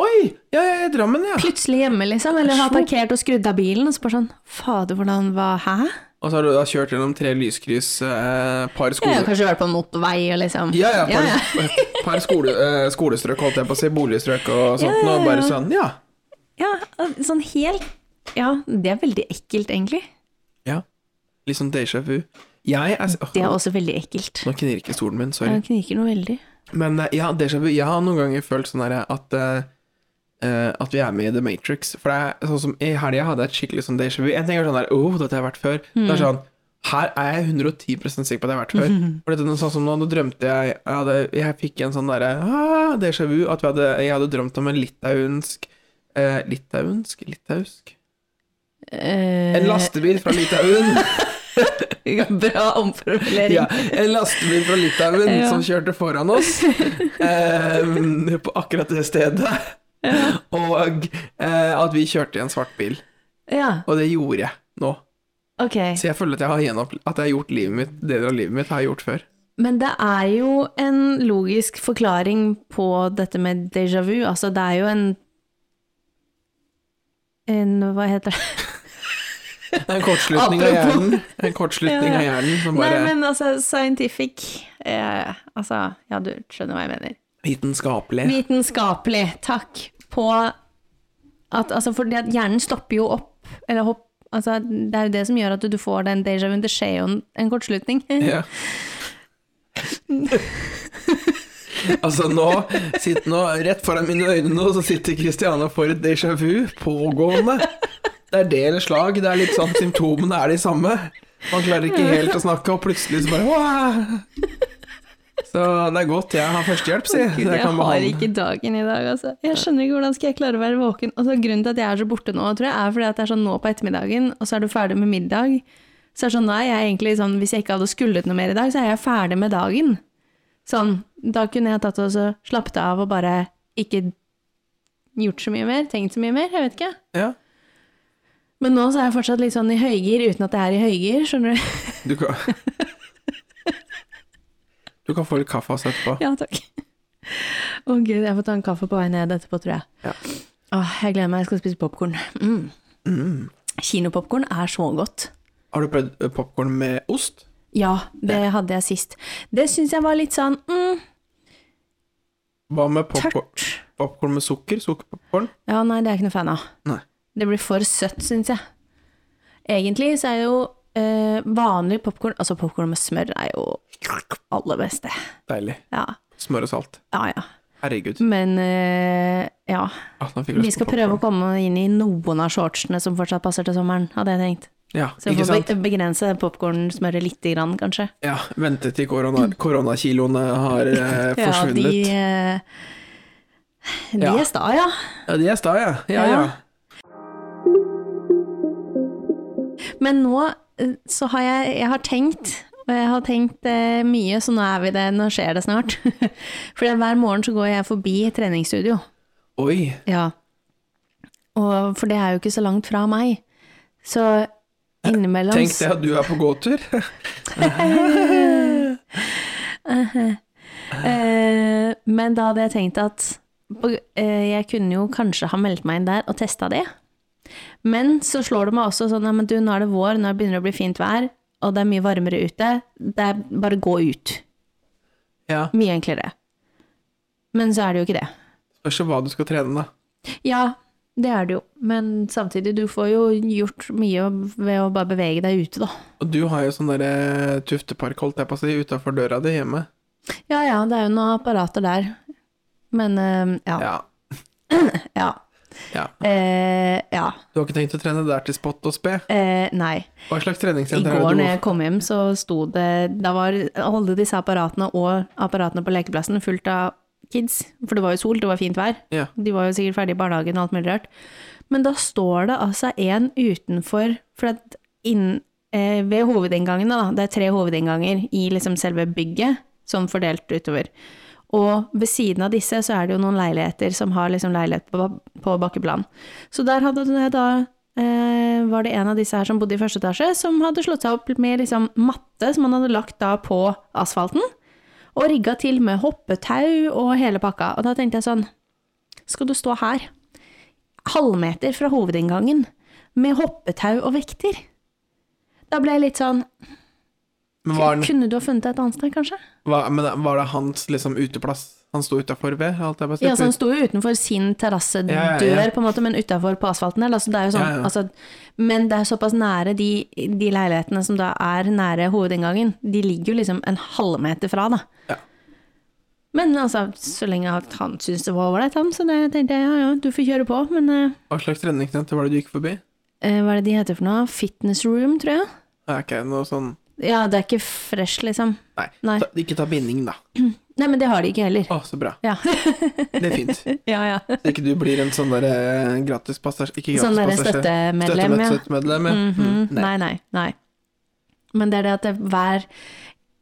S1: Oi, ja, jeg er i Drammen, ja.
S2: Plutselig hjemme, liksom, eller har parkert og skrudd av bilen, og så bare sånn Fader, hvordan var Hæ?
S1: Og så har du da kjørt gjennom tre lyskryss, eh, par
S2: Jeg har
S1: skoler
S2: kanskje vært på en motorvei, og liksom
S1: Ja, ja, par,
S2: ja.
S1: [laughs] par skole, eh, skolestrøk, holdt jeg på å si, boligstrøk og sånt,
S2: Ja, ja,
S1: og bare
S2: ja.
S1: sånn, ja.
S2: ja, sånn helt Ja, det er veldig ekkelt, egentlig.
S1: ja. Litt sånn déjà vu. Jeg er
S2: Det er
S1: Åh,
S2: også veldig ekkelt.
S1: Nå knirker stolen min, sorry.
S2: Den kniker noe veldig.
S1: Men eh, ja, déjà vu. Jeg har noen ganger følt sånn her at eh, eh, At vi er med i The Matrix. For det er sånn som i helga hadde jeg et skikkelig sånn déjà vu. En ting er sånn der oh, dette har jeg vært før. Det er sånn her er jeg 110 sikker på at jeg har vært før. For dette er noe sånn som nå, nå drømte jeg Jeg, hadde, jeg fikk en sånn derre ah, déjà vu. At vi hadde, jeg hadde drømt om en litauensk eh, Litauensk? Litausk?
S2: Eh,
S1: En
S2: [laughs]
S1: lastebil fra Litauen!
S2: Bra omformulering.
S1: Ja, en lastebil fra Litauen
S2: Ja.
S1: som kjørte foran oss
S2: [laughs]
S1: eh, på akkurat det stedet. Og eh, at vi kjørte i en svart bil.
S2: Ja,
S1: Og det gjorde jeg nå.
S2: ok.
S1: Så jeg føler at jeg har, gjenopp, at jeg har gjort livet mitt, deler av livet mitt har jeg gjort før.
S2: Men det er jo en logisk forklaring på dette med déjà vu. Altså, det er jo en en, hva heter det?
S1: Det er En kortslutning av
S2: Apropos.
S1: hjernen. En kortslutning
S2: Ja, ja.
S1: av hjernen som
S2: Nei,
S1: bare
S2: men altså, scientific eh, Altså, ja, du skjønner hva jeg mener.
S1: Vitenskapelig.
S2: Vitenskapelig, takk, på at altså, for det at hjernen stopper jo opp, eller hopp, altså, det er jo det som gjør at du får den déjà vu, det skjer jo en, en kortslutning.
S1: Ja. [laughs] altså nå, sitt nå Rett foran mine øyne nå Så sitter Kristiana for et déjà vu Pågående Det er del slag, det er litt sånn Symptomene er de samme Man klarer ikke helt å snakke Og plutselig så bare «Åh!» Så det er godt jeg har førstehjelp si.
S2: Gud,
S1: Det
S2: jeg
S1: kan
S2: har
S1: behandle
S2: ikke dagen i dag, altså. Jeg skjønner ikke hvordan skal jeg klare å være våken. Altså, grunnen til at jeg er så borte nå, tror jeg, er fordi at det er sånn nå på ettermiddagen, og så er du ferdig med middag. Så er det sånn, nei, jeg er egentlig sånn, hvis jeg ikke hadde skullet noe mer i dag, så er jeg ferdig med dagen. Sånn, da kunne jeg tatt og så slappet av og bare ikke gjort så mye mer, tenkt så mye mer, jeg vet ikke.
S1: ja.
S2: Men nå så er jeg fortsatt litt sånn i høygir, uten at jeg er i høygir, skjønner du?
S1: Du kan Du kan få litt kaffe og sette på
S2: [laughs] Ja, takk. Å gud, jeg får ta en kaffe på vei ned etterpå, tror jeg.
S1: Ja.
S2: Åh, jeg gleder meg, jeg skal spise popkorn. Mm.
S1: Mm.
S2: Kinopopkorn er så godt.
S1: Har du prøvd eh, popcorn med ost?
S2: Ja, det hadde jeg sist. Det syns jeg var litt sånn mm,
S1: Hva med popcorn,
S2: tørt.
S1: popcorn med sukker? Sukkerpopcorn?
S2: Ja, nei, det er jeg ikke noe fan av.
S1: Nei.
S2: Det blir for søtt, syns jeg. Egentlig så er jo eh, vanlig popkorn, altså popkorn med smør, er jo aller beste.
S1: Deilig
S2: Ja,
S1: Smør og salt.
S2: ja. ja.
S1: Herregud.
S2: Men eh, Ja.
S1: Ah, nå fikk jeg
S2: Vi
S1: lyst
S2: skal
S1: på
S2: prøve å
S1: popcorn.
S2: komme inn i noen av shortsene som fortsatt passer til sommeren, hadde jeg tenkt.
S1: Ja,
S2: Så vi
S1: ikke
S2: får
S1: sant?
S2: be- begrense popkornsmøret lite grann, kanskje.
S1: Ja, vente til korona, koronakiloene har eh,
S2: [laughs] Ja, de,
S1: forsvunnet.
S2: eh, de
S1: Ja.
S2: er sta, ja.
S1: Ja, de er sta, ja. Ja, ja.
S2: Ja. Men nå eh, så har jeg, jeg har tenkt, og jeg har tenkt eh, mye, så nå er vi det, nå skjer det snart. [laughs] For det er hver morgen så går jeg forbi treningsstudio.
S1: Oi.
S2: Ja. Og, for det er jo ikke så langt fra meg. Så innimellom
S1: Eh, Tenk det at du er på gåtur.
S2: Eh, men da hadde jeg tenkt at og, eh, jeg kunne jo kanskje ha meldt meg inn der og testa det. Men så slår det meg også sånn at du, nå er det vår, nå begynner det å bli fint vær, og det er mye varmere ute. Det er bare gå ut.
S1: Ja.
S2: Mye enklere. Men så er det jo ikke det.
S1: Spørs jo hva du skal trene, da.
S2: Ja, det er det jo. Men samtidig, du får jo gjort mye ved å bare bevege deg ute, da.
S1: Og du har jo sånn derre tuftepark, holdt jeg på å si, utafor døra di hjemme.
S2: Ja ja, det er jo noen apparater der. Men eh, ja.
S1: Ja.
S2: Ja.
S1: ja.
S2: Eh, ja.
S1: Du har ikke tenkt å trene der til spott og spe?
S2: Eh, nei.
S1: Hva slags
S2: I
S1: treningssenter
S2: går
S1: er
S2: når
S1: det
S2: jeg kom hjem, så sto det Da var alle disse apparatene og apparatene på lekeplassen fullt av kids. For det var jo sol, det var fint vær.
S1: du ja.
S2: De var jo sikkert ferdig i barnehagen og alt mulig rart. Men da står det altså en utenfor For at inn, eh, ved hovedinngangen, da, det er tre hovedinnganger i liksom selve bygget, sånn fordelt utover. Og ved siden av disse så er det jo noen leiligheter som har liksom leilighet på, på bakkeplan. Så der hadde det da eh, var det en av disse her som bodde i første etasje, som hadde slått seg opp med liksom matte som han hadde lagt da på asfalten. Og rigga til med hoppetau og hele pakka. Og da tenkte jeg sånn skal du stå her, halvmeter fra hovedinngangen, med hoppetau og vekter. Da ble jeg litt sånn
S1: Men var, den,
S2: Kunne du ha funnet deg et annet sted, kanskje?
S1: var, men var det hans liksom uteplass? Han sto utafor ved? Holdt jeg på å si?
S2: Ja, sånn så Han sto jo utenfor sin terrassedør,
S1: Ja, ja, ja.
S2: på en måte, men utafor på asfalten. der, Altså, det er jo sånn,
S1: Ja, ja.
S2: Altså, men det er såpass nære de, de leilighetene som da er nære hovedinngangen. De ligger jo liksom en halvmeter fra, da.
S1: Ja.
S2: Men altså, så lenge at han syntes det var ålreit, han, så det tenkte jeg ja ja, du får kjøre på. Men eh,
S1: Hva slags treningssenter var det du gikk forbi?
S2: eh, hva er det de heter for noe? Fitness room, tror jeg.
S1: Er ikke noe sånn
S2: Ja, det er ikke fresh, liksom.
S1: Nei.
S2: Nei.
S1: Ta, ikke ta binding, da.
S2: Nei, men det har de ikke heller.
S1: Å, så bra.
S2: Ja, [laughs]
S1: Det er fint.
S2: ja. ja.
S1: Så ikke du blir en sånn derre gratis passasjer Ikke gratis
S2: Sånn derre
S1: passasjer.
S2: støttemedlem, ja.
S1: Støttemedlem, ja.
S2: Mhm.
S1: Mm-hmm. Nei.
S2: Nei, nei, nei. Men det er det at det hver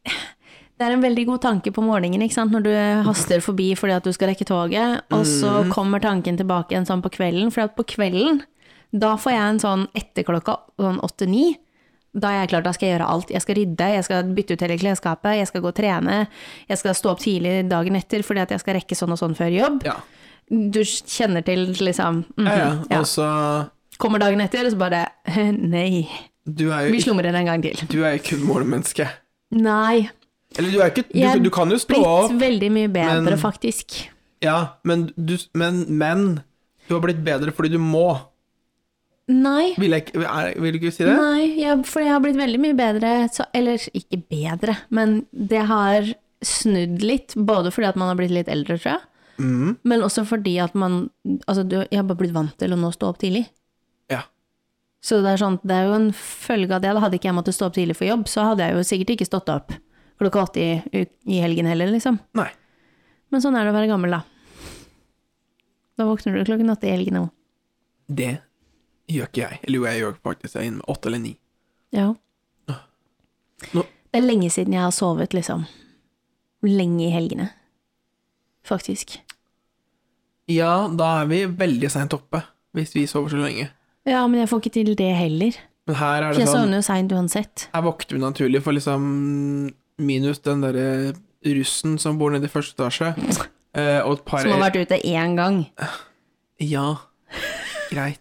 S2: Det er en veldig god tanke på morgenen, ikke sant, når du haster forbi fordi at du skal rekke toget, og så
S1: Mm-hmm.
S2: kommer tanken tilbake igjen sånn på kvelden, for at på kvelden, da får jeg en sånn etter klokka sånn åtte-ni. Da er jeg klar, da skal jeg gjøre alt. Jeg skal rydde, jeg skal bytte ut hele klesskapet, jeg skal gå og trene, jeg skal stå opp tidlig dagen etter fordi at jeg skal rekke sånn og sånn før jobb.
S1: Ja.
S2: Du kjenner til liksom mhm,
S1: Ja, ja.
S2: ja.
S1: Og så
S2: Kommer dagen etter, og så bare [laughs] Nei.
S1: Du er
S2: Vi
S1: jo
S2: slumrer en gang til.
S1: du er jo kun morgenmenneske.
S2: Nei.
S1: Eller du er ikke
S2: Jeg
S1: Du, du kan jo stå
S2: Blitt
S1: opp,
S2: veldig mye bedre,
S1: men-
S2: faktisk.
S1: ja, men du Men, men du har blitt bedre fordi du må.
S2: Nei.
S1: Vil, jeg, ikke- er, vil du ikke si det?
S2: Nei, jeg, for jeg har blitt veldig mye bedre, så, eller ikke bedre, men det har snudd litt, både fordi at man har blitt litt eldre, tror jeg,
S1: Mhm.
S2: men også fordi at man Altså, du, jeg har bare blitt vant til å nå stå opp tidlig.
S1: Ja.
S2: Så det er, sånn, det er jo en følge av det. Da hadde ikke jeg måttet stå opp tidlig for jobb, så hadde jeg jo sikkert ikke stått opp klokka åtte i, u- i helgen heller, liksom.
S1: Nei.
S2: Men sånn er det å være gammel, da. Da våkner du klokken åtte i helgen òg.
S1: Det gjør ikke jeg. Eller jo, jeg gjør faktisk det innen åtte eller ni.
S2: Ja.
S1: Nå-
S2: Det er lenge siden jeg har sovet, liksom. Lenge i helgene. Faktisk.
S1: Ja, da er vi veldig seint oppe, hvis vi sover så lenge.
S2: Ja, men jeg får ikke til det heller.
S1: Men her er
S2: For
S1: det
S2: jeg
S1: sånn
S2: sovner jo seint uansett.
S1: Her våkner vi naturlig for liksom Minus den derre russen som bor nede i første etasje, eh, og et par
S2: Som har vært ute én gang.
S1: Ja, greit.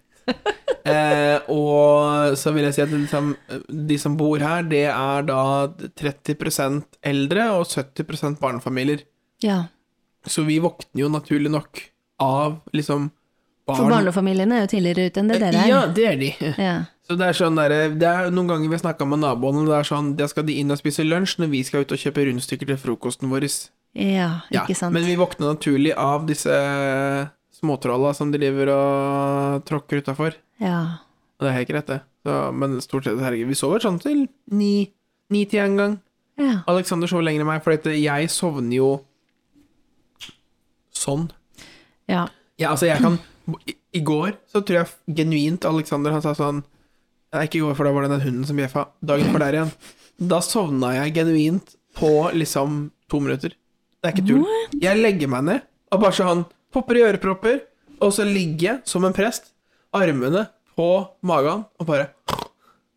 S1: Eh, og så vil jeg si at liksom, de som bor her, det er da 30 eldre og 70 barnefamilier.
S2: Ja.
S1: Så vi våkner jo naturlig nok av liksom barn.
S2: For barnefamiliene er jo tidligere ute enn det dere
S1: Ja,
S2: er.
S1: det er de.
S2: Ja.
S1: Så det er sånn derre Det er noen ganger vi har snakka med naboene, og det er sånn Der skal de inn og spise lunsj når vi skal ut og kjøpe rundstykker til frokosten vår.
S2: ja,
S1: Ja,
S2: ikke sant.
S1: Men vi våkner naturlig av disse småtrolla som de driver og tråkker utafor.
S2: Ja.
S1: Og det er helt greit, det. Så, men stort sett, herregud, vi sover sånn til ni. Ni-ti en gang.
S2: ja.
S1: Alexander sover lenger enn meg, for jeg sovner jo sånn.
S2: Ja.
S1: Ja, altså, jeg kan I, i går så tror jeg genuint Alexander han sa sånn Nei, ikke i går, for da var det den hunden som bjeffa. Dagen før der igjen. Da sovna jeg genuint på liksom to minutter. Det er ikke tull. Jeg legger meg ned og bare sånn Popper i ørepropper, og så ligger jeg som en prest, armene på magen, og bare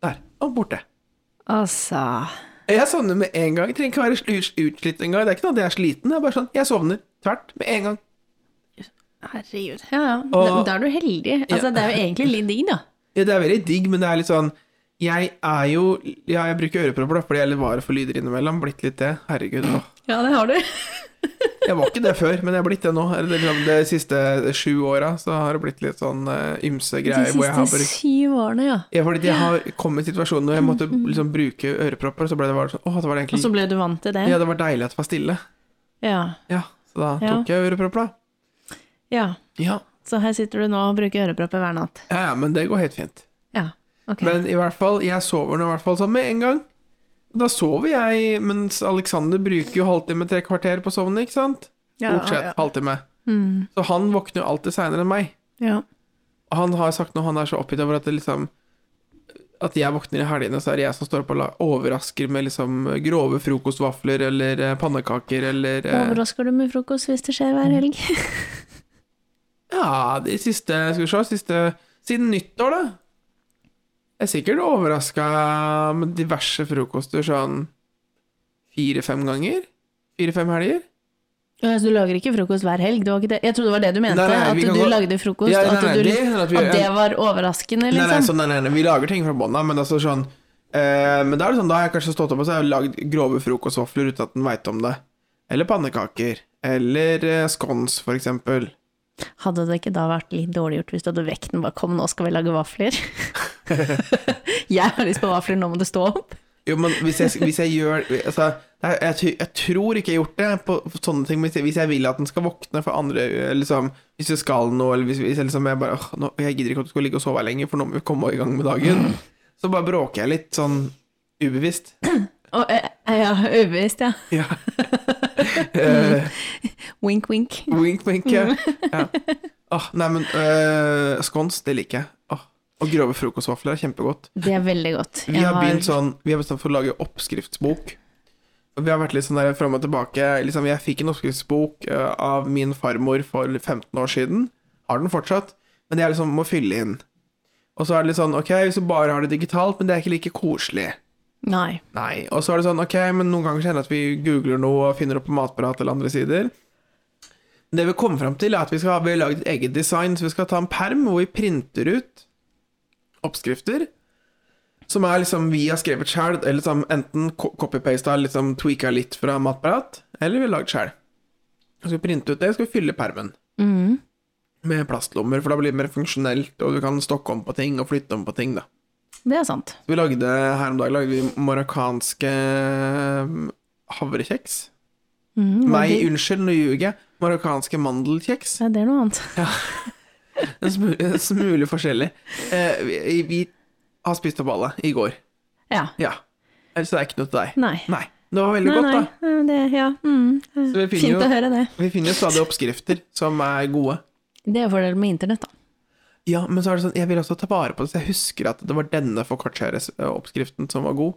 S1: Der. Og borte.
S2: Altså
S1: Jeg sovner med en gang. Jeg trenger ikke være sl- us- utslitt engang. Det er ikke noe at jeg er sliten. Det er bare sånn, jeg sovner tvert med en gang.
S2: Herregud. Ja, ja. Da,
S1: Og-
S2: da er du heldig. Altså, Det er jo egentlig litt digg, da.
S1: Ja, det er veldig digg, men det er litt sånn Jeg er jo Ja, jeg bruker ørepropper da, fordi jeg er litt var for lyder innimellom. Blitt litt det. Herregud. Åh.
S2: Ja, det har du.
S1: Jeg var ikke det før, men jeg er blitt det nå. Eller det, liksom, de siste sju åra så har det blitt litt sånn eh, ymse
S2: De
S1: greier hvor jeg har
S2: siste
S1: brukt
S2: syv årene, ja. Mm-hmm.
S1: ja, fordi jeg har kommet i situasjonen hvor jeg måtte liksom bruke ørepropper, og så ble det bare sånn Åh, det var det
S2: Og så
S1: egentlig
S2: ble du vant til det?
S1: Ja, det var deilig at det var stille.
S2: Ja.
S1: Ja, så da
S2: Ja.
S1: tok jeg ørepropper, da.
S2: ja.
S1: Ja.
S2: Så her sitter du nå og bruker ørepropper hver natt.
S1: ja, ja, men det går helt fint.
S2: Ja. Ok.
S1: Men i hvert fall, jeg sover nå i hvert fall sånn med en gang. Da sover jeg, mens Alexander bruker jo halvtime, tre kvarter på å sovne, ikke sant?
S2: Ja,
S1: Stort sett
S2: ja.
S1: halvtime.
S2: Mm.
S1: Så han våkner jo alltid seinere enn meg.
S2: Ja.
S1: Og han har sagt når han er så oppgitt over at det liksom At jeg våkner i helgene, så er det jeg som står opp og la- overrasker med liksom grove frokostvafler eller eh, pannekaker eller eh,
S2: Overrasker du med frokost hvis det skjer hver
S1: Mm.
S2: [laughs] helg?
S1: Ja, de siste Skal vi se, siste Siden nyttår, da. Jeg er sikkert overraska med diverse frokoster sånn fire-fem ganger. Fire-fem helger.
S2: Ja, så Altså, Du lager ikke frokost hver helg? Det var ikke det. Jeg trodde det var det du mente?
S1: Nei, nei,
S2: at
S1: vi
S2: du
S1: kan gå-
S2: lagde frokost,
S1: Ja, nei,
S2: og at,
S1: nei,
S2: du,
S1: det er sånn at vi-
S2: at det var overraskende,
S1: Nei,
S2: liksom?
S1: nei, sånn, nei, nei, nei, vi lager ting fra bånn av, men altså sånn eh, Men da er det sånn, da har jeg kanskje stått opp og så har jeg lagd grove frokostvafler uten at den veit om det. Eller pannekaker. Eller eh, scones, for eksempel.
S2: Hadde det ikke da vært litt dårlig gjort hvis du hadde vekt den bare 'kom, nå skal vi lage
S1: [laughs]
S2: vafler'? jeg har lyst på vafler, nå må du stå opp.
S1: Jo, men hvis jeg, hvis jeg gjør altså, jeg, jeg, ty- jeg tror ikke jeg har gjort det på på sånne ting. men Hvis jeg, hvis jeg vil at den skal våkne for andre eh, liksom, Hvis vi skal noe, eller hvis, hvis jeg liksom jeg bare åh, nå, Jeg gidder ikke at du skal ligge og sove her lenger, for nå må vi komme i gang med dagen. Så bare bråker jeg litt sånn ubevisst.
S2: Og, eh, ja, overbevist, ja. [laughs]
S1: Ja. Eh,
S2: Wink, wink.
S1: wink, wink. Ja. Ja. Åh, nei, men eh, scones, det liker jeg. Åh, og grove frokostvafler er kjempegodt.
S2: Det er veldig godt.
S1: Vi har begynt sånn Vi har bestemt for å lage oppskriftsbok. Og vi har vært litt sånn der fram og tilbake. Liksom, jeg fikk en oppskriftsbok eh, av min farmor for 15 år siden. Har den fortsatt, men jeg liksom må fylle inn. Og så er det litt sånn Ok, hvis du bare har det digitalt, men det er ikke like koselig.
S2: Nei.
S1: Nei. Og så er det sånn, ok, men noen ganger kjenner jeg at vi googler noe og finner opp på matprat eller andre sider. Men Det vi kommer fram til, er at vi skal ha vi har laget et eget design, så vi skal ta en perm hvor vi printer ut oppskrifter. Som er liksom vi har skrevet sjøl, eller liksom enten ko- copy-pasta eller liksom tweaka litt fra matprat, eller vi har lagd sjøl. Så skal vi printe ut det, så skal vi fylle permen
S2: Mm.
S1: med plastlommer, for da blir det mer funksjonelt, og du kan stokke om på ting og flytte om på ting, da.
S2: Det er sant.
S1: Vi lagde her om dagen lagde vi marokkanske mm, havrekjeks.
S2: Mm, var
S1: Nei,
S2: det-
S1: unnskyld, nå ljuger jeg. Marokkanske mandelkjeks.
S2: Nei, det er noe annet.
S1: En smu- en smule forskjellig. Eh, vi, vi har spist opp alle i går.
S2: Ja.
S1: Ja. Ellers er det ikke noe til deg.
S2: Nei.
S1: Nei. Det var veldig
S2: Nei,
S1: godt,
S2: nei. nei, Det, ja. Mm.
S1: da. Så vi
S2: Fint å
S1: finner, jo,
S2: høre det.
S1: vi finner jo stadig oppskrifter som er gode.
S2: Det er fordelen med internett, da.
S1: Ja, men så er det sånn, jeg vil også ta vare på det, så jeg husker at det var denne for kortskjæres eh, oppskriften som var god.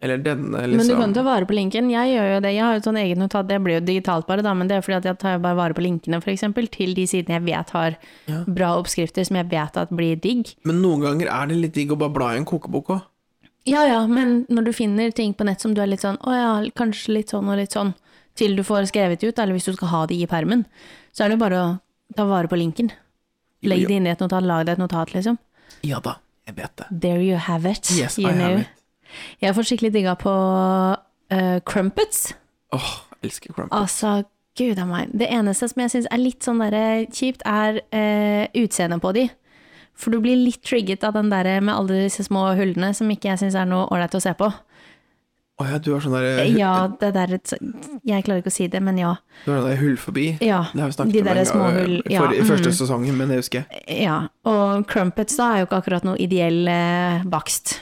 S1: Eller denne, liksom.
S2: Men du kan ta vare på linken. Jeg gjør jo det. Jeg har jo et sånn eget notat, det blir jo digitalt bare, da, men det er fordi at jeg tar jo bare vare på linkene, f.eks., til de sidene jeg vet har
S1: Ja.
S2: bra oppskrifter som jeg vet at blir digg.
S1: Men noen ganger er det litt digg å bare bla i en kokebok òg.
S2: Ja ja, men når du finner ting på nett som du er litt sånn å ja, kanskje litt sånn og litt sånn, til du får skrevet det ut, eller hvis du skal ha det i permen, så er det jo bare å ta vare på linken. Legg det inn i et notat, lag deg et notat, liksom.
S1: Ja da, jeg vet det.
S2: There you have it.
S1: Yes,
S2: you
S1: I
S2: know.
S1: have it.
S2: Jeg får skikkelig digga på eh, crumpets.
S1: Åh, elsker crumpets.
S2: Altså, gud a meg. Det eneste som jeg syns er litt sånn derre kjipt, er eh, utseendet på de. For du blir litt trigget av den derre med alle disse små hullene som ikke jeg syns er noe ålreit å se på.
S1: Å ja, du har sånn der
S2: Eh, Ja, det der Jeg klarer ikke å si det, men ja.
S1: Du har den der hull forbi.
S2: Ja,
S1: Det har vi snakket
S2: de
S1: om
S2: der
S1: en gang,
S2: små hull,
S1: eh,
S2: ja,
S1: for, I første
S2: mhm.
S1: sesongen, men det husker jeg.
S2: ja. Og crumpets da er jo ikke akkurat noe ideell eh, bakst.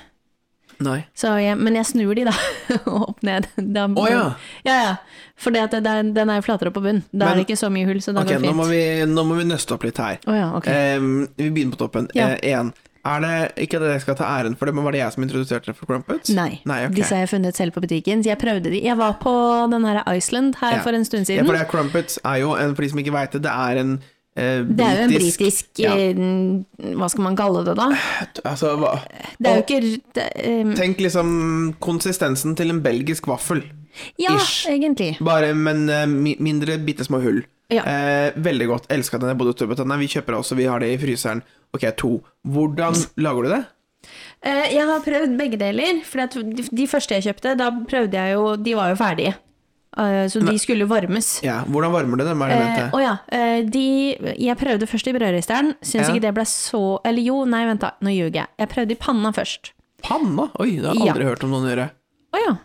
S1: Nei.
S2: Så jeg, men jeg snur de da, [laughs] opp ned. Da,
S1: Å ja!
S2: Ja, ja. For det at det der, den er jo flatere på bunn. Da er
S1: Men-
S2: det ikke så mye hull, så da
S1: Ok,
S2: går det
S1: nå
S2: fint.
S1: må,
S2: Å
S1: vi, nå må vi nøste opp litt her.
S2: ja, ok.
S1: Ehm, vi begynner på toppen.
S2: Ja.
S1: Eh, en. Er det ikke at jeg skal ta æren for det, men var det jeg som introduserte det for Crumpets?
S2: Nei.
S1: ok.
S2: Disse har jeg funnet selv på butikken. så Jeg prøvde de. Jeg var på den her Iceland her
S1: Ja.
S2: for en stund
S1: Ja,
S2: siden.
S1: for det er Crumpets er jo en, for de som ikke veit det, det er en eh,
S2: det er jo en
S1: britisk-
S2: britisk
S1: ja.
S2: eh, Hva skal man kalle det, da?
S1: Altså, hva?
S2: Det er jo
S1: Og
S2: ikke det, eh,
S1: Tenk liksom konsistensen til en belgisk vaffel.
S2: Ja,
S1: ish.
S2: egentlig.
S1: Bare, men eh, mi- mindre bitte små hull.
S2: Ja.
S1: Eh, veldig godt. Elska den. Jeg bodde i Storbritannia. Vi kjøper også, vi har det i fryseren. Ok, to. Hvordan lager du det?
S2: Eh, Jeg har prøvd begge deler. For at de- de første jeg kjøpte, da prøvde jeg jo De var jo ferdige. Eh, Så de skulle varmes.
S1: Ja, Hvordan varmer du dem? Er det jeg
S2: Eh,
S1: mente?
S2: Å ja. eh, de, jeg prøvde først i brødristeren. Syns
S1: Ja.
S2: ikke det ble så Eller jo, nei, vent da. Nå ljuger jeg. Jeg prøvde i panna først.
S1: Panna? Oi, det har jeg
S2: Ja.
S1: aldri hørt om noen gjøre.
S2: Å ja.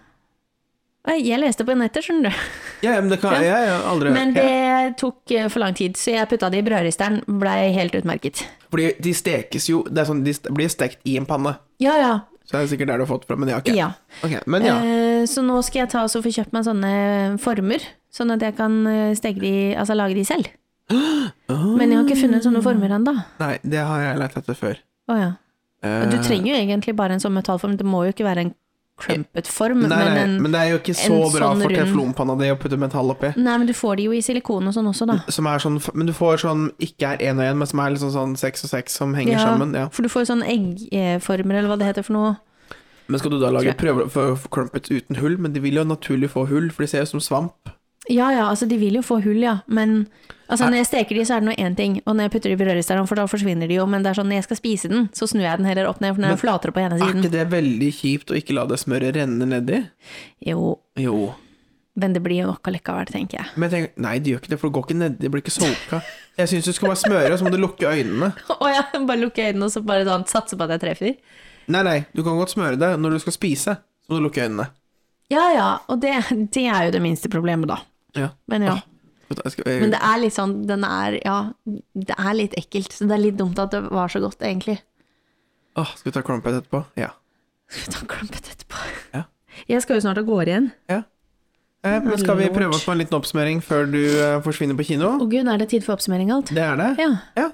S2: Eh, Jeg leste på nettet, skjønner du.
S1: Ja, ja, men det kan ja. jeg har aldri
S2: Men
S1: hørt.
S2: det tok eh, for lang tid, så jeg putta det i brødristeren. Blei helt utmerket.
S1: Ja. Fordi de stekes jo Det er sånn, de st- blir stekt i en panne.
S2: Ja, ja.
S1: Så det er sikkert der du har fått fra, men ja, ok.
S2: ja.
S1: Ok, Men ja.
S2: Eh, Så nå skal jeg ta og så få kjøpt meg sånne former, sånn at jeg kan eh, steke de, altså lage de
S1: [gasps]
S2: selv.
S1: Ah.
S2: Men jeg har ikke funnet sånne former ennå.
S1: Nei, det har jeg lett etter før.
S2: Å ja.
S1: Eh,
S2: Du trenger jo egentlig bare en sånn metallform, det må jo ikke være en crumpet-form,
S1: Eh, nei,
S2: men
S1: nei,
S2: en
S1: men det er jo ikke så
S2: en
S1: bra
S2: sånn
S1: for
S2: rund-
S1: teflonpanna di å putte metall oppi.
S2: Nei, men du får de jo i silikon og sånn også, da.
S1: Som er sånn, men du får sånn ikke er én og én, men som er liksom sånn seks og seks som henger sammen. Ja.
S2: For du får jo sånn eggformer, eller hva det heter for noe.
S1: Men skal du da
S2: Tror
S1: lage
S2: jeg.
S1: prøver for for crumpets uten hull? Men de vil jo naturlig få hull, for de ser jo ut som svamp.
S2: Ja ja, altså de vil jo få hull, ja, men Altså når jeg steker de, så er det nå én ting, og når jeg putter de i brødristeren, for da forsvinner de jo, men det er sånn når jeg skal spise den, så snur jeg den heller opp ned, for den er jo flatere på ene
S1: Er
S2: siden.
S1: ikke det veldig kjipt å ikke la det smøret renne nedi?
S2: Jo,
S1: Jo.
S2: men det blir jo nok allikevel, tenker jeg. [laughs]
S1: Men jeg tenker, nei, det gjør ikke det, for det går ikke nedi, det blir ikke solka. Jeg syns du skal bare smøre, og så må du lukke øynene.
S2: Å ja, bare lukke øynene og så bare sånn satse på at jeg treffer.
S1: Nei, nei, du kan godt smøre det når du skal spise, så må du lukke øynene.
S2: Ja ja, og det, det er jo det minste problemet, da.
S1: Ja.
S2: Men ja.
S1: Jeg skal, jeg,
S2: Men det er litt sånn, den er, ja, det er litt ekkelt, så det er litt dumt at det var så godt, egentlig.
S1: Åh, skal vi ta crumpet etterpå? Ja.
S2: Skal vi ta klumpet etterpå?
S1: Ja.
S2: Jeg skal jo snart og går igjen.
S1: Eh, men skal vi
S2: Lord.
S1: prøve oss på en liten oppsummering før du eh, forsvinner på kino?
S2: Å gud, er det tid for oppsummering alt?
S1: Det er det.
S2: Ja.
S1: Ja.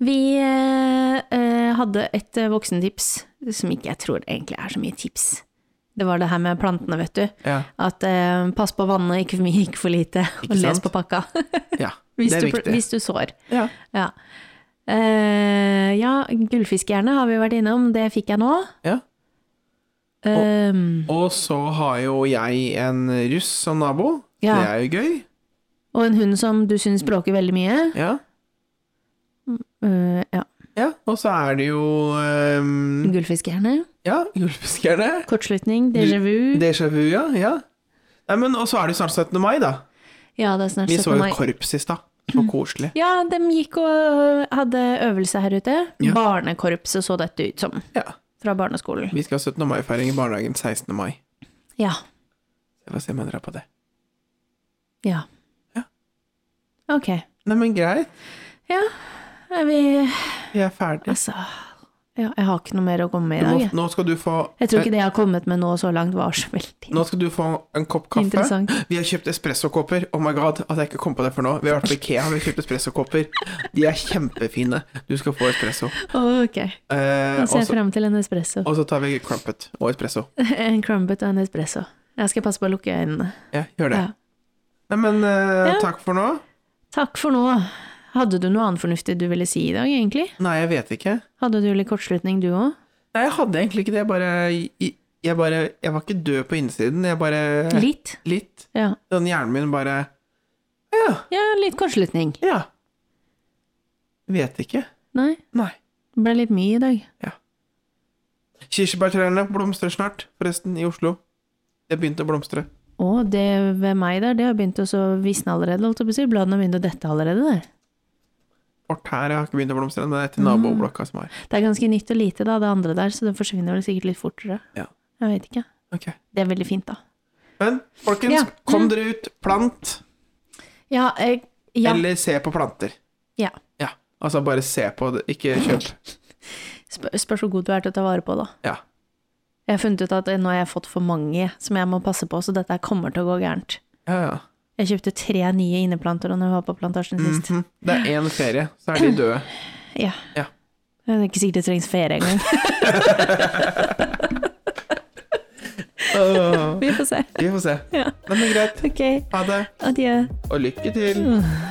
S2: Vi eh, eh, hadde et eh, voksentips, som ikke jeg tror egentlig er så mye tips. Det var det her med plantene, vet du.
S1: Ja.
S2: At eh, pass på vannet, ikke for mye, ikke for lite, og
S1: Ikke
S2: les
S1: sant?
S2: på pakka.
S1: ja.
S2: [laughs] Hvis,
S1: det er
S2: du, pl-
S1: viktig.
S2: hvis du sår.
S1: Ja.
S2: Ja. Eh, ja, gullfiskehjerne har vi vært innom, det fikk jeg nå.
S1: Ja.
S2: Um,
S1: Og så har jo jeg en russ som nabo.
S2: Ja.
S1: Det er jo gøy.
S2: Og en hund som du syns bråker veldig mye.
S1: Ja.
S2: Uh, ja.
S1: ja. Og så er det jo ehm,
S2: Gullfiskehjerne.
S1: Ja, gullfiskerne.
S2: Kortslutning. Déjà vu.
S1: Déjà vu, ja. ja. Nei, men, og så er det jo snart 17. mai, da.
S2: Ja, det er snart
S1: Vi
S2: 17.
S1: så jo
S2: mai.
S1: korps
S2: [clears throat]
S1: i stad. Så koselig.
S2: Ja, de gikk og øh, hadde øvelse her ute.
S1: Ja.
S2: Barnekorpset så dette ut som.
S1: Ja.
S2: Fra barneskolen.
S1: Vi skal ha 17. mai-feiring i barnehagen 16. mai.
S2: Ja.
S1: Jeg får se om jeg drar på det.
S2: Ja.
S1: Ja.
S2: Ok.
S1: Nei, men greit.
S2: Er vi
S1: Vi er ferdige.
S2: Altså ja, Jeg har ikke noe mer å komme med i
S1: Du
S2: dag.
S1: må,
S2: jeg.
S1: nå skal du få
S2: Jeg tror ikke det jeg har kommet med nå så langt, var så veldig
S1: Nå skal du få en kopp kaffe.
S2: Interessant.
S1: Vi har kjøpt espressokopper. Oh my god, at jeg ikke kom på det for nå. Vi har vært på Ikea, vi har kjøpt espressokopper. De er kjempefine. Du skal få espresso. [laughs]
S2: Ok.
S1: Eh,
S2: Da
S1: og
S2: ser jeg
S1: så-
S2: frem til en espresso. [laughs]
S1: og så tar vi crumpet og espresso.
S2: En crumbet og en espresso. Jeg skal passe på å lukke øynene.
S1: Ja, gjør det.
S2: Ja.
S1: Nei, men eh,
S2: Ja.
S1: takk for nå.
S2: Takk for nå. Hadde du noe annet fornuftig du ville si i dag, egentlig?
S1: Nei, jeg vet ikke.
S2: Hadde du litt kortslutning, du òg?
S1: Nei, jeg hadde egentlig ikke det. Jeg bare Jeg, bare, jeg var ikke død på innsiden. Jeg bare
S2: Litt?
S1: Litt.
S2: Ja.
S1: Den hjernen min bare Ja,
S2: ja, litt kortslutning.
S1: ja. Vet ikke.
S2: Nei,
S1: Nei.
S2: det ble litt mye i dag.
S1: Kirsebærtrærne blomstrer snart, forresten, i Oslo. Det har begynt å blomstre.
S2: Å, det ved meg der, det har begynt å så visne allerede, holdt jeg på å si. Bladene har begynt å dette allerede der.
S1: Vårt her har ikke begynt å blomstre, men det er til
S2: Mm.
S1: naboblokka som har.
S2: Det er ganske nytt og lite, da, det andre der, så det forsvinner vel sikkert litt fortere.
S1: Ja.
S2: Jeg vet ikke.
S1: Ok.
S2: Det er veldig fint, da.
S1: Men folkens,
S2: Ja. Mm.
S1: kom dere ut, plant,
S2: Ja, eh, ja,
S1: eller se på planter.
S2: ja.
S1: Ja. Altså bare se på det, ikke kjøp.
S2: Sp spørs hvor god du er til å ta vare på, da.
S1: Ja.
S2: Jeg har funnet ut at eh, nå har jeg fått for mange som jeg må passe på, så dette kommer til å gå gærent.
S1: Ja, ja.
S2: Jeg kjøpte tre nye inneplanter da jeg var på plantasjen sist.
S1: Mhm. Det er én ferie, så er de
S2: [clears throat]
S1: døde.
S2: Ja.
S1: Ja.
S2: Det er ikke sikkert det trengs ferie engang.
S1: Åh,
S2: Vi får se.
S1: vi får se.
S2: Ja.
S1: Nei, Men greit.
S2: Ok,
S1: Ha det,
S2: adjø.
S1: og lykke til.
S2: Mm.